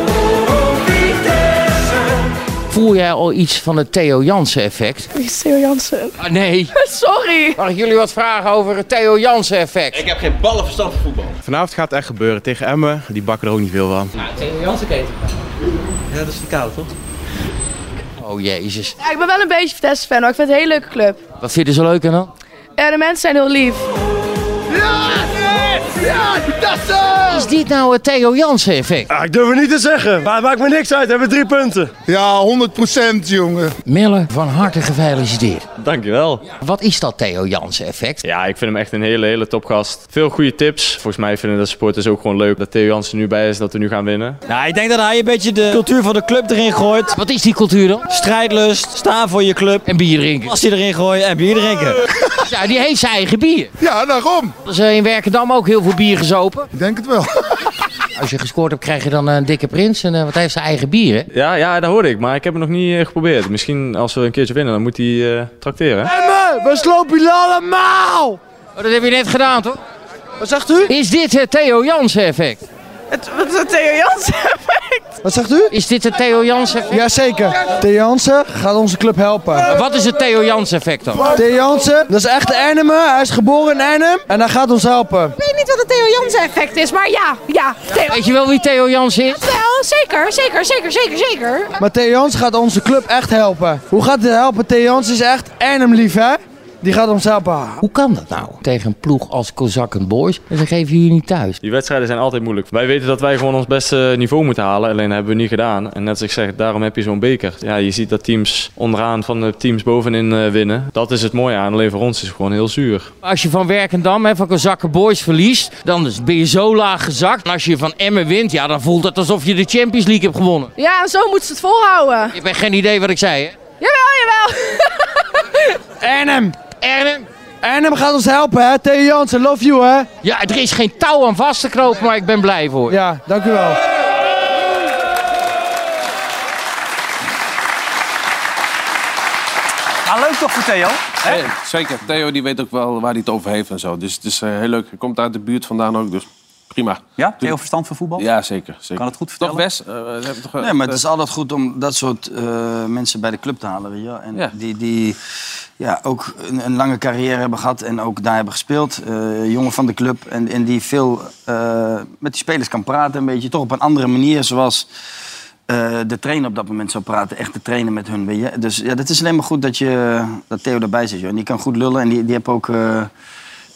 Voel jij al iets van het Theo Jansen-effect?
Wie is Theo Jansen?
Ah, nee.
Sorry.
Mag ik jullie wat vragen over het Theo Jansen-effect?
Ik heb geen ballen verstand van voetbal. Vanavond gaat het echt gebeuren tegen Emmen. Die bakken er ook niet veel van.
Theo Jansen-keten. Ja, dat is de koud, toch? Oh, jezus.
Ja, ik ben wel een beetje Vitesse-fan, maar ik vind het een hele leuke club.
Wat vinden ze leuk en dan?
En de mensen zijn heel lief.
Ja! Ja,
Is dit nou het Theo Jansen-effect?
Ah, ik durf het niet te zeggen, maar het maakt me niks uit. We hebben drie punten. Ja, 100% jongen.
Miller, van harte gefeliciteerd.
Dankjewel.
Wat is dat Theo Jansen-effect?
Ja, ik vind hem echt een hele, hele topgast. Veel goede tips. Volgens mij vinden de supporters ook gewoon leuk dat Theo Jansen nu bij is, dat we nu gaan winnen.
Nou, ik denk dat hij een beetje de cultuur van de club erin gooit.
Wat is die cultuur dan?
Strijdlust, staan voor je club.
En bier drinken.
Als hij erin gooien en bier drinken.
<laughs> Ja, die heeft zijn eigen bier.
Ja, daarom.
Hebben Ze in Werkendam ook heel veel bier gezopen.
Ik denk het wel.
<laughs> Als je gescoord hebt, krijg je dan een dikke prins. En eh, wat heeft zijn eigen bier, hè?
Ja, ja, dat hoor ik, maar ik heb het nog niet eh, geprobeerd. Misschien als we een keertje winnen, dan moet hij eh, trakteren.
Emmen, we slopen jullie allemaal.
Oh, dat heb je net gedaan, toch? Wat zegt u? Is dit het Theo Jansen-effect?
Het, wat is het Theo Jansen-effect? Wat zegt u?
Is dit het Theo Jansen-effect?
Jazeker. Theo Jansen gaat onze club helpen.
Wat is het Theo Jansen-effect dan?
Theo Jansen, dat is echt Ernemer. Hij is geboren in Ernem en hij gaat ons helpen.
Ik weet niet wat het Theo Jansen-effect is, maar ja, ja. Theo.
Weet je wel wie Theo Jansen is?
Wel, zeker, zeker, zeker, zeker, zeker.
Maar Theo Jansen gaat onze club echt helpen. Hoe gaat dit helpen? Theo Jansen is echt Ernem lief, hè? Die gaat ons helpen.
Hoe kan dat nou? Tegen een ploeg als Kozakken Boys, en ze geven jullie niet thuis.
Die wedstrijden zijn altijd moeilijk. Wij weten dat wij gewoon ons beste niveau moeten halen. Alleen dat hebben we niet gedaan. En net als ik zeg, daarom heb je zo'n beker. Ja, je ziet dat teams onderaan van de teams bovenin eh, winnen. Dat is het mooie aan. Alleen voor ons is het gewoon heel zuur.
Als je van Werkendam en van Kozakken Boys verliest, dan ben je zo laag gezakt. En als je van Emmen wint, ja, dan voelt het alsof je de Champions League hebt gewonnen.
Ja, en zo moeten ze het volhouden.
Je hebt echt geen idee wat ik zei, hè?
Jawel, jawel.
Ernem.
Ernem.
Ernem gaat ons helpen, hè? Theo Jansen, love you, hè?
Ja, er is geen touw aan vast te knopen, maar ik ben blij voor.
Ja, dank u wel.
Maar Nou, leuk toch voor Theo? Hè?
Nee, zeker. Theo die weet ook wel waar hij het over heeft en zo. Dus het is eh, heel leuk. Hij komt uit de buurt vandaan ook, dus prima.
Ja, Theo verstand van voetbal?
Ja, zeker. zeker.
Kan het goed vertellen?
Toch best. eh, we hebben toch, eh,
Nee, maar het is altijd goed om dat soort eh, mensen bij de club te halen. Weet je? wel. En
Ja.
Die, die ja, ook een, een lange carrière hebben gehad en ook daar hebben gespeeld. Eh jongen van de club en, en die veel eh, met die spelers kan praten. Een beetje toch op een andere manier zoals eh, de trainer op dat moment zou praten. Echt te trainen met hun. Weet je? Dus ja, dat is alleen maar goed dat, je, dat Theo erbij zit. Joh. En die kan goed lullen en die, die heeft ook... eh,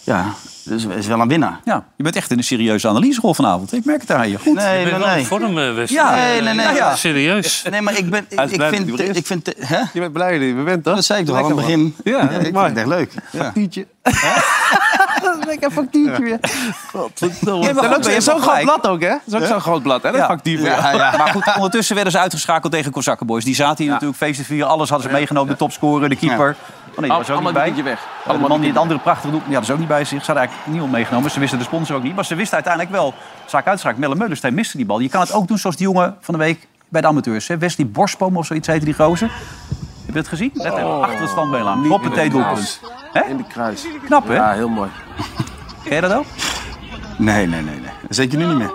ja, dus is wel een winnaar.
Ja, je bent echt in een serieuze analyserol vanavond. Ik merk het aan je. Goed.
Nee, Je bent nee, wel in nee.
vorm, eh, Wesley.
Ja, nee, nee, nee.
Nou ja.
Serieus. Nee, maar ik ben... Ik,
Hij is
ik
blij dat hij
vind...
er is.
Ik vind hè?
Je bent blij dat je er bent, toch?
Dat zei ik toch al aan het
Lekker,
begin.
man. Ja,
ik vind
maar-
het echt leuk. Ja.
Tietje. Lekker factuurtje weer. Godverdomme.
Nee, maar
En
goed,
ook
je hebt
Zo'n groot
gelijk.
blad ook, hè? Dat is ook
Ja?
zo'n groot blad, hè? Dat
Ja.
factuur weer.
Ja, ja. Maar goed, ondertussen werden ze uitgeschakeld tegen Kozakkenboys. Die zaten hier natuurlijk feesten vieren. Alles hadden ze meegenomen. De topscorer, de keeper. Oh nee, die
Al-
was ook
allemaal
niet
die
bij.
weg.
Eh,
Allemaal
de man die
die
het andere prachtig doet, die hadden ze ook niet bij zich. Ze hadden eigenlijk niemand meegenomen. Ze wisten de sponsor ook niet. Maar ze wisten uiteindelijk wel, zaak uitspraak, Melle Meulensteen miste die bal. Je kan het ook doen zoals die jongen van de week bij de amateurs. Hè? Wesley Borstboom of zoiets heette die gozer. Heb je het gezien? Net
Oh.
even achter het standbeen aan. Hoppatee doelpunt.
In de kruis.
Knap, hè?
Ja, heel mooi.
Ken je dat ook?
Nee, nee, nee, nee. Zeker nu niet meer.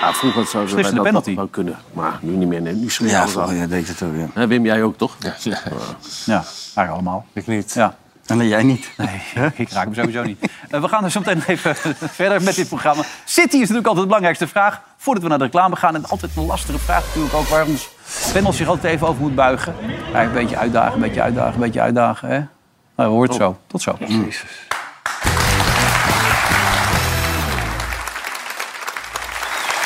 Ja, vroeger zou ze bij
Beslissende
dat
penalty.
wel kunnen. Maar nu niet meer. Nee, nu smeer je
Ja,
alles af.
vroeger ja, deed ik dat ook, ja.
Hè, Wim, jij ook, toch?
Ja, eigenlijk allemaal.
Ik niet.
Ja.
En nee, jij niet.
Nee, ik raak hem sowieso niet. <laughs> Eh, we gaan er zo meteen even <laughs> verder met dit programma. City is natuurlijk altijd de belangrijkste vraag. Voordat we naar de reclame gaan. En altijd een lastige vraag natuurlijk ook. Waar ons panel zich altijd even over moet buigen. Ja, een beetje uitdagen, een beetje uitdagen, een beetje uitdagen. Hè? Nou, we hoort het zo. Tot zo.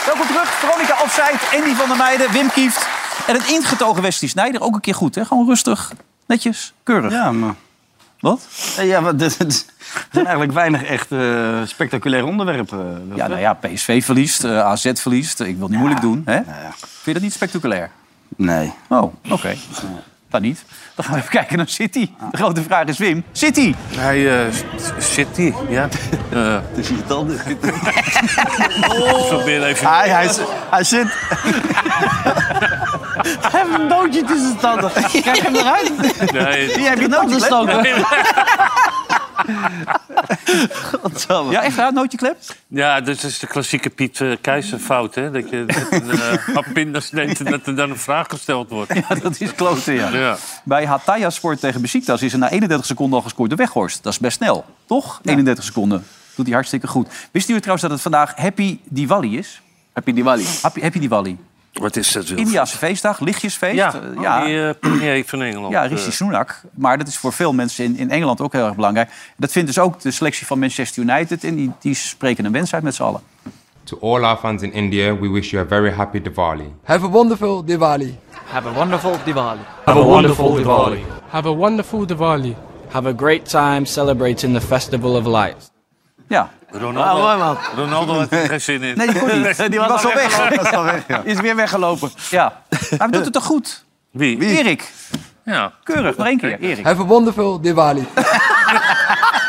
Welkom terug. Veronica Afzijd, Andy van der Meijden, Wim Kieft. En het ingetogen Westie Snijder. Ook een keer goed, hè? Gewoon rustig, netjes, keurig.
Ja, maar...
Wat?
Ja, maar dit- dit- er zijn eigenlijk weinig echt eh, spectaculaire onderwerpen. eh,
Ja, nou ja, PSV verliest, eh, AZ verliest. Ik wil het niet moeilijk doen. Hè? Vind je dat niet spectaculair?
Nee.
Oh, oké. Dat niet. Dan gaan we even kijken naar City. De grote vraag is Wim. City!
Hij zit hier, <laughs> ja. Het is niet anders. Probeer even.
Hij, hij, is- hij zit.
Hij heeft een doodje tussen de tanden. Krijg hem eruit.
Nee,
Die heb je tanden stoken.
Ja, echt uit, nootjeklep?
Ja, dit is de klassieke Piet eh, Keizer fout, hè? Dat je dat een eh, hap pindas neemt en dat er dan een vraag gesteld wordt.
Ja, dat is klote, ja.
Ja.
Bij Hataya Sport tegen Besiktas is er na 31 seconden al gescoord door Weghorst. Dat is best snel, toch? 31 seconden. Doet hij hartstikke goed. Wist u trouwens dat het vandaag Happy Diwali is?
Happy Diwali.
Happy, Happy Diwali.
Wat is dat? Wilf?
Indiase feestdag, lichtjesfeest.
Ja,
Eh,
die eh, premier van Engeland. eh,
Ja, Rishi Sunak. Maar dat is voor veel mensen in, in Engeland ook heel erg belangrijk. Dat vindt dus ook de selectie van Manchester United. En die, die spreken een wens uit met z'n allen.
To all our fans in India, we wish you a very happy Diwali.
Have a wonderful Diwali.
Have a wonderful Diwali.
Have a wonderful Diwali.
Have a wonderful Diwali. Have a great time celebrating the Festival of Lights.
Ja.
Ronaldo, Ronaldo had er geen zin in.
Nee, die kon
<laughs>
niet. <laughs> Die was al <laughs> weg.
Is weer weggelopen.
Ja. Maar hij doet het toch goed?
Wie?
Erik.
Ja.
Keurig, nog één keer. Erik.
Have a wonderful Diwali.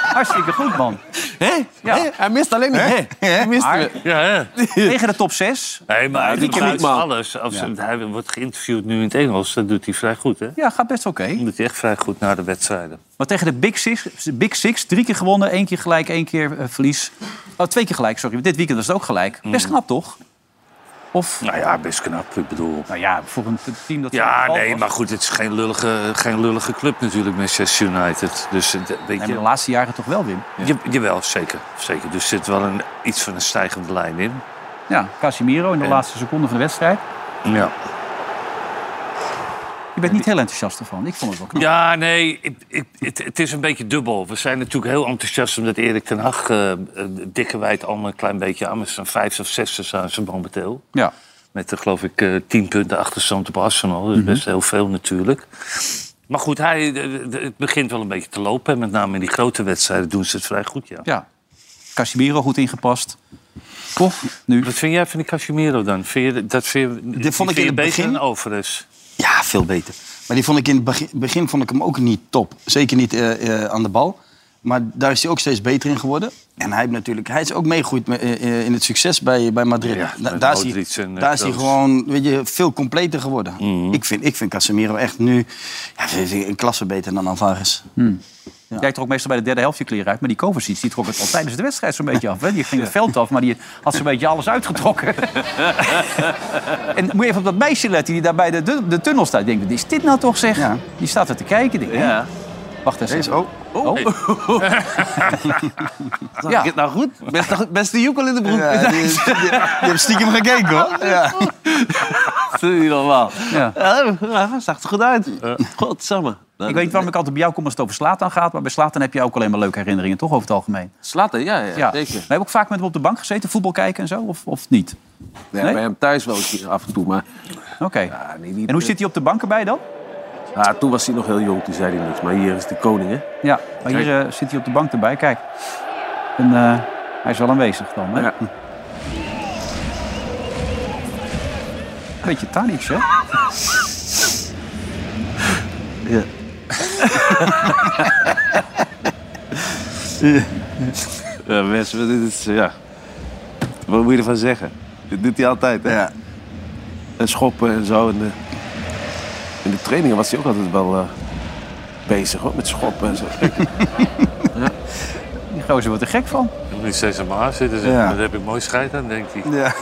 Hartstikke goed, man.
Hé?
Ja.
Hij mist alleen niet. Hé? Hij mist
Maar
Ja, hè?
tegen de top 6.
Nee, maar hij
Die ken ik,
doet
man.
alles. Als Hij wordt geïnterviewd nu in het Engels. Dat doet hij vrij goed, hè?
Ja, gaat best oké.
Dat doet hij echt vrij goed na de wedstrijden.
Maar tegen de Big Six, Big Six, drie keer gewonnen, één keer gelijk, één keer eh, verlies. Oh, twee keer gelijk, sorry. Dit weekend was het ook gelijk. Best knap, toch? Of?
Nou ja, best knap. Ik bedoel...
Nou ja, voor een team dat...
Ja,
zo-
nee, maar goed, het is geen lullige, geen lullige club natuurlijk, Manchester United. Dus eh, weet
Nee,
je...
maar de laatste jaren toch wel, Wim?
Ja. jawel, zeker, zeker. Dus er zit wel een, iets van een stijgende lijn in.
Ja, Casimiro in de
En-
laatste seconde van de wedstrijd.
Ja.
Je bent niet heel enthousiast ervan. Ik vond het wel knap.
Ja, nee, ik, ik, het, het is een beetje dubbel. We zijn natuurlijk heel enthousiast omdat Erik ten Hag... eh eh, dikke wijd allemaal een klein beetje aan. Maar ze zijn vijf of zesde zijn ze momenteel.
Ja.
Met, eh, geloof ik, eh, tien punten achterstand op Arsenal.
Mhm.
Dat is Dus best heel veel natuurlijk. Maar goed, hij, de- de- het begint wel een beetje te lopen. En met name in die grote wedstrijden doen ze het vrij goed, ja.
Ja. Casimiro goed ingepast. Toch? Nu.
Wat vind jij van die Casimiro dan? Vind je, dat vind je, die
vond ik
vind
in
je
het
beter
begin-
dan Overus?
Ja, veel beter. Maar die vond ik in het begin, begin vond ik hem ook niet top. Zeker niet eh, eh, aan de bal. Maar daar is hij ook steeds beter in geworden. En hij, heeft natuurlijk, hij is ook meegegroeid me- eh, eh, in het succes bij, bij Madrid.
Ja,
Da-
met
daar is hij,
Modric en, eh,
daar is hij
Kroos.
gewoon weet je, veel completer geworden. ik, vind, ik vind Casemiro echt nu ja, vind ik een klasse beter dan Alvarez.
Jij trok meestal bij de derde helft je kleren uit. Maar die Kovacic die trok het al tijdens de wedstrijd zo'n beetje af. Hè? Die ging het veld af, maar die had zo'n beetje alles
<laughs>
uitgetrokken. en moet je even op dat meisje letten die daar bij de, de, de tunnel staat. Ik denk, wat is dit nou toch zeg? Die staat er te kijken. Ik Denk, hè? Wacht eens.
Deze,
even.
oh.
Oh.
Ja. het nou goed? Best, beste joekel in de broek.
<laughs> Ja, die- die- die hebt stiekem gekeken, hoor. Ja.
Dat is niet normaal.
Ja.
Ja, zag er goed uit. Godsamme.
Ik weet niet waarom ik altijd bij jou kom als het over Slatan gaat. Maar bij Slatan heb je ook alleen maar leuke herinneringen, toch? Over het algemeen.
Slaten, ja, ja,
Ja.
zeker.
We hebben ook vaak met hem op de bank gezeten, voetbal kijken en zo. Of, of niet?
Ja,
Nee?
Bij hem thuis wel een keer af en toe, maar...
Oké. en hoe zit hij op de bank erbij dan?
Ah, toen was hij nog heel jong, toen zei hij niks. Maar hier is de koning, hè?
Ja, maar hier eh, zit hij op de bank erbij. Kijk. En, eh, hij is wel aanwezig dan, hè? Beetje Tadic, hè?
Ja. ja, mensen, dit is... Ja. Wat moet je ervan zeggen? Dit doet hij altijd, hè? En schoppen en zo. En de, in de trainingen was hij ook altijd wel eh, bezig, hoor. Met schoppen en zo.
Die gozer wordt er gek van.
Moet niet steeds aan mijn haar zitten. zeg.
Ja.
Daar heb ik mooi scheid aan, denkt hij.
Ja.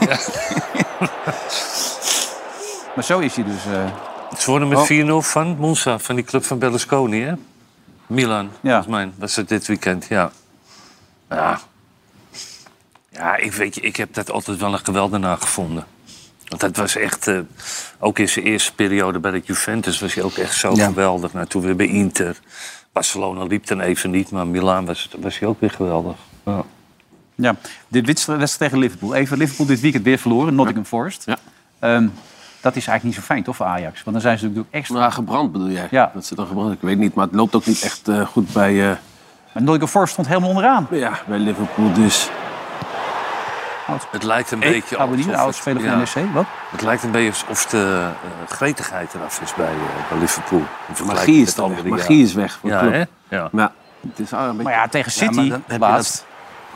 Maar zo is hij dus... eh,
Ze wonnen met
Oh.
4-0 van Monza, van die club van Berlusconi, hè? Milan, volgens mij was het dit weekend, ja. Ja, ja ik, weet je, ik heb dat altijd wel een geweldenaar gevonden. Want dat was echt, eh, ook in zijn eerste periode bij de Juventus was hij ook echt zo
Ja.
geweldig. Nou, toen weer bij Inter. Barcelona liep dan even niet, maar Milaan was, was hij ook weer geweldig. Ja.
Ja, dit wedstrijd tegen Liverpool. Even Liverpool dit weekend weer verloren, Nottingham Forest. Ehm, dat is eigenlijk niet zo fijn, toch, voor Ajax? Want dan zijn ze natuurlijk extra...
Ja, gebrand bedoel jij? Ja. Dat ze dan gebrand Ik weet niet, maar het loopt ook niet echt eh, goed bij...
Maar Nottingham Forest stond helemaal onderaan.
Ja, bij Liverpool dus.
Het lijkt een
Eh,
beetje...
Abonnie, de
alsof
oudspeler van
ja.
NEC, wat?
Het lijkt een beetje alsof de eh, gretigheid eraf is bij, eh, bij Liverpool. In vergelijking
Magie
met
is dan weg.
andere
Magie
jaren.
is weg.
Ja, hè? Ja.
Maar het is al een beetje...
Maar ja, tegen
Ja, maar dan heb je dat-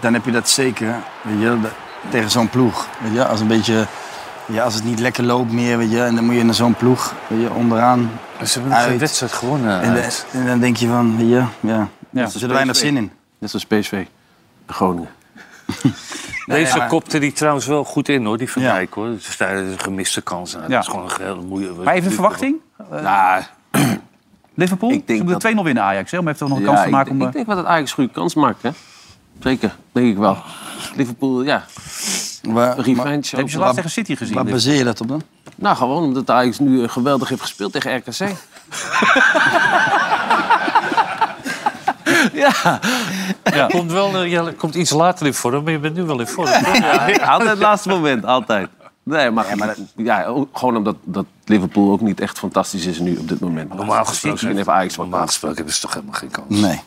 Dan heb je dat zeker, weet je, dat- tegen zo'n ploeg. Weet je, als, een beetje, ja, als het niet lekker loopt meer, weet je, en dan moet je naar zo'n ploeg, weet je, onderaan.
Ze hebben nog geen
uit.
wedstrijd gewonnen.
En,
uit.
de- en dan denk je van, weet je, ja,
Ja.
er zit weinig zin in.
Net zoals PSV. Groningen.
Deze
ja, maar-
kopte die trouwens wel goed in, hoor, die Van Dijk. Hoor. Dus daar is een gemiste kans aan.
Ja.
Dat is gewoon een hele moeilijke...
Maar even een verwachting? Eh, <clears throat> Liverpool? ze moeten 2-0 winnen, Ajax. Hè? Om even toch nog een kans te
ik,
maken om...
denk-
eh,
ik denk wel dat Ajax een goede kans maakt, hè? Zeker, denk ik wel. Liverpool, ja.
Waar,
Revenge.
heb je ze laatst tegen City gezien?
Waar baseer
je dat op dan?
Nou, gewoon omdat Ajax nu eh, geweldig heeft gespeeld tegen RKC. ja.
Ja. Komt wel, eh, ja, komt iets later in vorm, maar je bent nu wel in vorm.
<laughs> Ja, altijd het laatste moment, altijd. Nee, maar, ja, ook gewoon omdat dat Liverpool ook niet echt fantastisch is nu op dit moment. Normaal gesproken heeft Ajax wat Normaal
gesproken hebben ze toch helemaal geen kans.
Nee.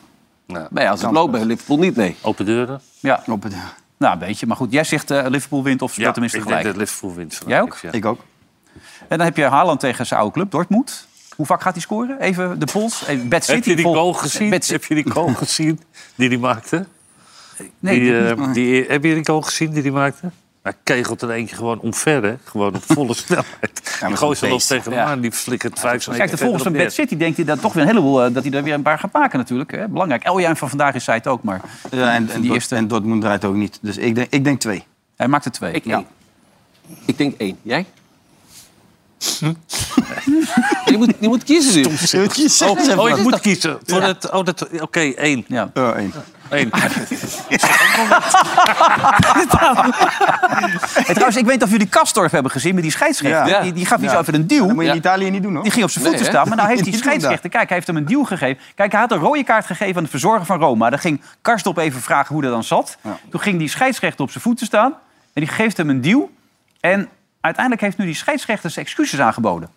Nee, als het loopt bij Liverpool niet, nee.
Open deuren?
Ja.
Open deuren.
Nou, een beetje. Maar goed, jij zegt eh, Liverpool wint of ze speelt tenminste
ik
gelijk.
denk dat Liverpool wint.
Jij ook?
Ja.
Ik ook.
En dan heb je Haaland tegen zijn oude club, Dortmund. Hoe vaak gaat hij scoren? Even de pols. Even Bad City.
Heb je die
poll.
goal gezien?
Bad City.
Heb je die goal gezien die hij maakte?
Nee,
die,
ik heb
eh,
niet-
die, heb je die goal gezien die hij maakte? Hij kegelt er eentje gewoon omver, hè? Gewoon op volle <laughs> snelheid.
maar
die gozer
zo'n
loopt
beest.
tegen hem
Ja.
aan, die flikkert vijf meter
Kijk, de volgers van
verder
Bad City denkt hij dan toch weer een heleboel... eh, dat hij er weer een paar gaat maken natuurlijk. Hè? Belangrijk. Oh ja, en van vandaag is zij het ook, maar...
Ja, en, en,
die
Dort-
eerste.
en Dortmund draait ook niet. Dus ik denk, ik denk twee.
Hij maakt er twee.
Ik één. Ik denk één. Jij? je, moet, je moet kiezen nu.
neer. Oh, oh, ik moet kiezen. Voor het, oh, dat, Oké, één.
Ja,
Oh, één.
Eén.
En trouwens, ik weet of jullie Kastorf hebben gezien met die scheidsrechter.
Ja.
Die, die gaf niet
Ja.
zo even een duw.
Dat moet je in Italië niet doen, hoor.
Die ging op zijn voeten
Nee, hè?
staan, maar nou
<laughs>
heeft die
Niet doen daar.
scheidsrechter... Kijk, hij heeft hem een duw gegeven. Kijk, hij had een rode kaart gegeven aan de verzorger van Roma. Dan ging Karstorp even vragen hoe dat dan zat. Toen ging die scheidsrechter op zijn voeten staan. En die geeft hem een duw. En uiteindelijk heeft nu die scheidsrechter zijn excuses aangeboden.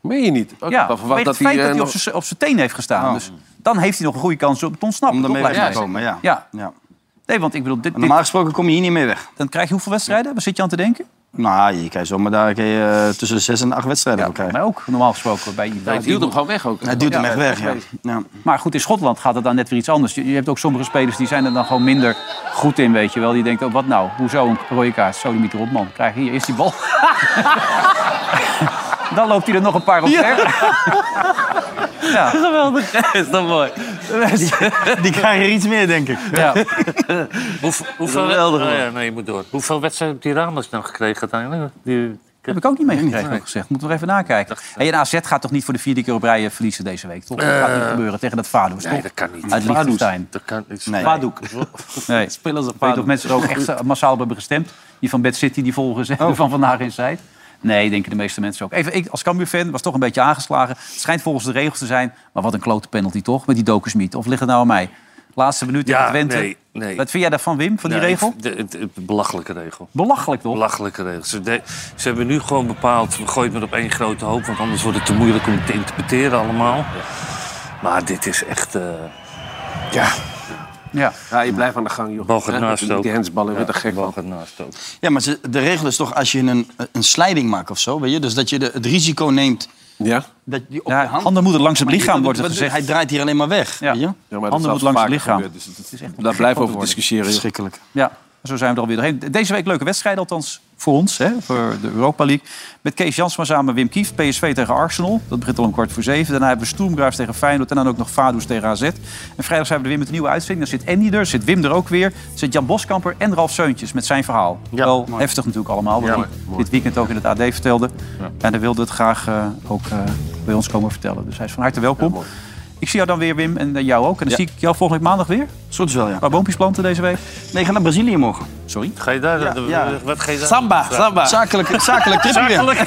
Meen je niet?
ja,
dan verwacht
vanwege het
dat
feit
hij, eh,
dat hij op
nog-
zijn- op zijn teen heeft gestaan. Dus dan heeft hij nog een goede kans om te ontsnappen.
Oh. Om
toch,
ermee
lijkt
weg te
mij.
komen, ja.
Ja.
ja.
Nee, want ik bedoel... Dit, dit-
Normaal gesproken kom je hier niet meer weg.
dan krijg je hoeveel wedstrijden? Waar zit je aan te denken?
Nou, je kan zomaar daar kan je, eh, tussen de zes en de acht wedstrijden voor krijgen.
Maar ook normaal gesproken bij... bij
Hij duwt hem gewoon weg ook.
Hij duwt hem echt weg, ja. ja.
Maar goed, in Schotland gaat het dan net weer iets anders. Je je hebt ook sommige spelers die zijn er dan gewoon minder goed in, weet je wel. Die denken, oh, wat nou? Hoezo een rode kaart? Zo, die op, man. Krijg hier eerst die bal. <laughs> dan loopt hij er nog een paar op weg. Ja.
Geweldig. is dat mooi.
Die, die krijgen er iets meer, denk ik.
Ja.
Hoeveel, hoeveel,
Geweldig,
oh
man.
ja, nee, eh. je moet door. Hoeveel wedstrijden heeft die Ramos dan gekregen nou uiteindelijk? Die,
Dat heb ik ook niet meegekregen, ook gezegd. Moeten we er even nakijken. Hey, en AZ gaat toch niet voor de vierde keer op rij eh, verliezen deze week, toch? Dat gaat niet
Eh,
gebeuren tegen dat Vadoes,
nee,
toch?
dat kan niet.
Uit
Vaduz,
Liechtenstein.
dat kan- ik-
Nee.
Vadoek.
Nee.
Spelers op
Ik weet of
Vadoek.
mensen er ook echt massaal op hebben gestemd. Die van Bad City, die volgen ze van vandaag in Zuid. Nee, denken de meeste mensen ook. Even, ik als Cambuur-fan was toch een beetje aangeslagen. Het schijnt volgens de regels te zijn. Maar wat een klote penalty toch, met die Dokusmiet. Of ligt het nou aan mij? Laatste minuut tegen
Ja,
Twente.
nee, nee.
Wat vind jij daarvan, Wim, van die
Nee,
regel?
ik- de- het- het- belachelijke regel.
Belachelijk toch?
Belachelijke regel. Ze, de- ze hebben nu gewoon bepaald, we gooien het met op één grote hoop... want anders wordt het te moeilijk om het te interpreteren allemaal. Maar dit is echt... eh, ja,
Ja.
ja, je blijft aan de gang, joh.
bal gaat
Ja,
naast ook.
Die handsballen,
Ja,
weer te gek
bal
van.
gaat naast ook.
Ja, maar ze- de regel is toch als je een, een slijding maakt of zo, weet je? Dus dat je de, het risico neemt
ja.
dat die op
Ja,
je hand...
handen moeten langs het
Maar die-
lichaam,
wat-
wordt er
wat-
gezegd.
Hij draait hier alleen maar weg, weet je?
Ja,
Handen moet langs het lichaam.
Daar blijven we over discussiëren. joh.
Verschrikkelijk.
Ja, zo zijn we er alweer doorheen. Deze week leuke wedstrijden, althans voor ons, hè, voor de Europa League. Met Kees Jansma samen Wim Kieft, PSV tegen Arsenal. Dat begint al om kwart voor zeven. Daarna hebben we Stoemgraaf tegen Feyenoord en dan ook nog Vaduz tegen AZ. En vrijdag zijn we er weer met een nieuwe uitzending. Dan zit Andy er, zit Wim er ook weer. Zit Jan Boskamper en Ralf Seuntjes met zijn verhaal. Wel heftig natuurlijk allemaal, wat
Ja,
hij
mooi, mooi.
dit weekend ook in het AD vertelde. En hij wilde het graag eh, ook eh, bij ons komen vertellen. Dus hij is van harte welkom. ik zie jou dan weer, Wim, en eh, jou ook. En dan
Ja.
zie ik jou volgende week maandag weer.
Soort wel, ja.
Waar boompjes planten deze week?
Nee, ga naar Brazilië morgen.
Oh. Sorry?
Ga je daar?
Ja,
dat-
ja.
Wat ga je daar?
Samba, samba. Zakelijk, zakelijk tripje weer.
Zakelijk.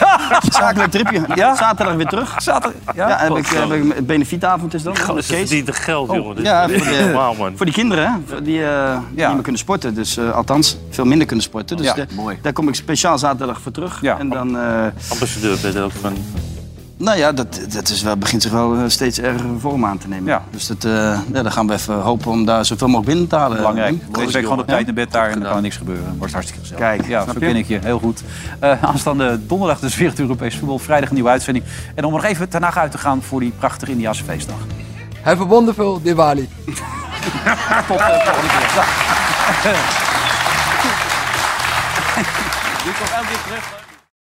<laughs> Zakelijk tripje. Zaterdag weer terug.
Zaterdag,
Ja, heb ik, heb ik een benefietavond is dat.
Goh, ze verdienen geld, jongen. Dit-
Oh, Ja,
dit
voor
is
die,
normaal, man.
voor die kinderen, hè, voor die, eh, die niet meer kunnen sporten. Dus, eh, althans, veel minder kunnen sporten. Dus
Ja,
de-
mooi.
daar kom ik speciaal zaterdag voor terug.
Ja.
En dan, eh,
Ambassadeur ben je er ook van.
nou ja, dat, dat is wel, begint zich wel eh, steeds erger vorm aan te nemen. Dus dat, eh, ja, dan gaan we even hopen om daar zoveel mogelijk binnen te halen.
Belangrijk.
Wim.
Deze week gewoon op tijd naar bed daar en dan kan er niks gebeuren. Wordt hartstikke gezellig.
Kijk,
ja,
snap
zo
je?
ken ik je. Heel goed. Eh, <laughs> aanstaande donderdag dus weer het Europees voetbal. Vrijdag een nieuwe uitzending. En om nog even ten Haag uit te gaan voor die prachtige Indiase feestdag.
Have a wonderful Diwali.
Tot eh, volgende keer. Dag.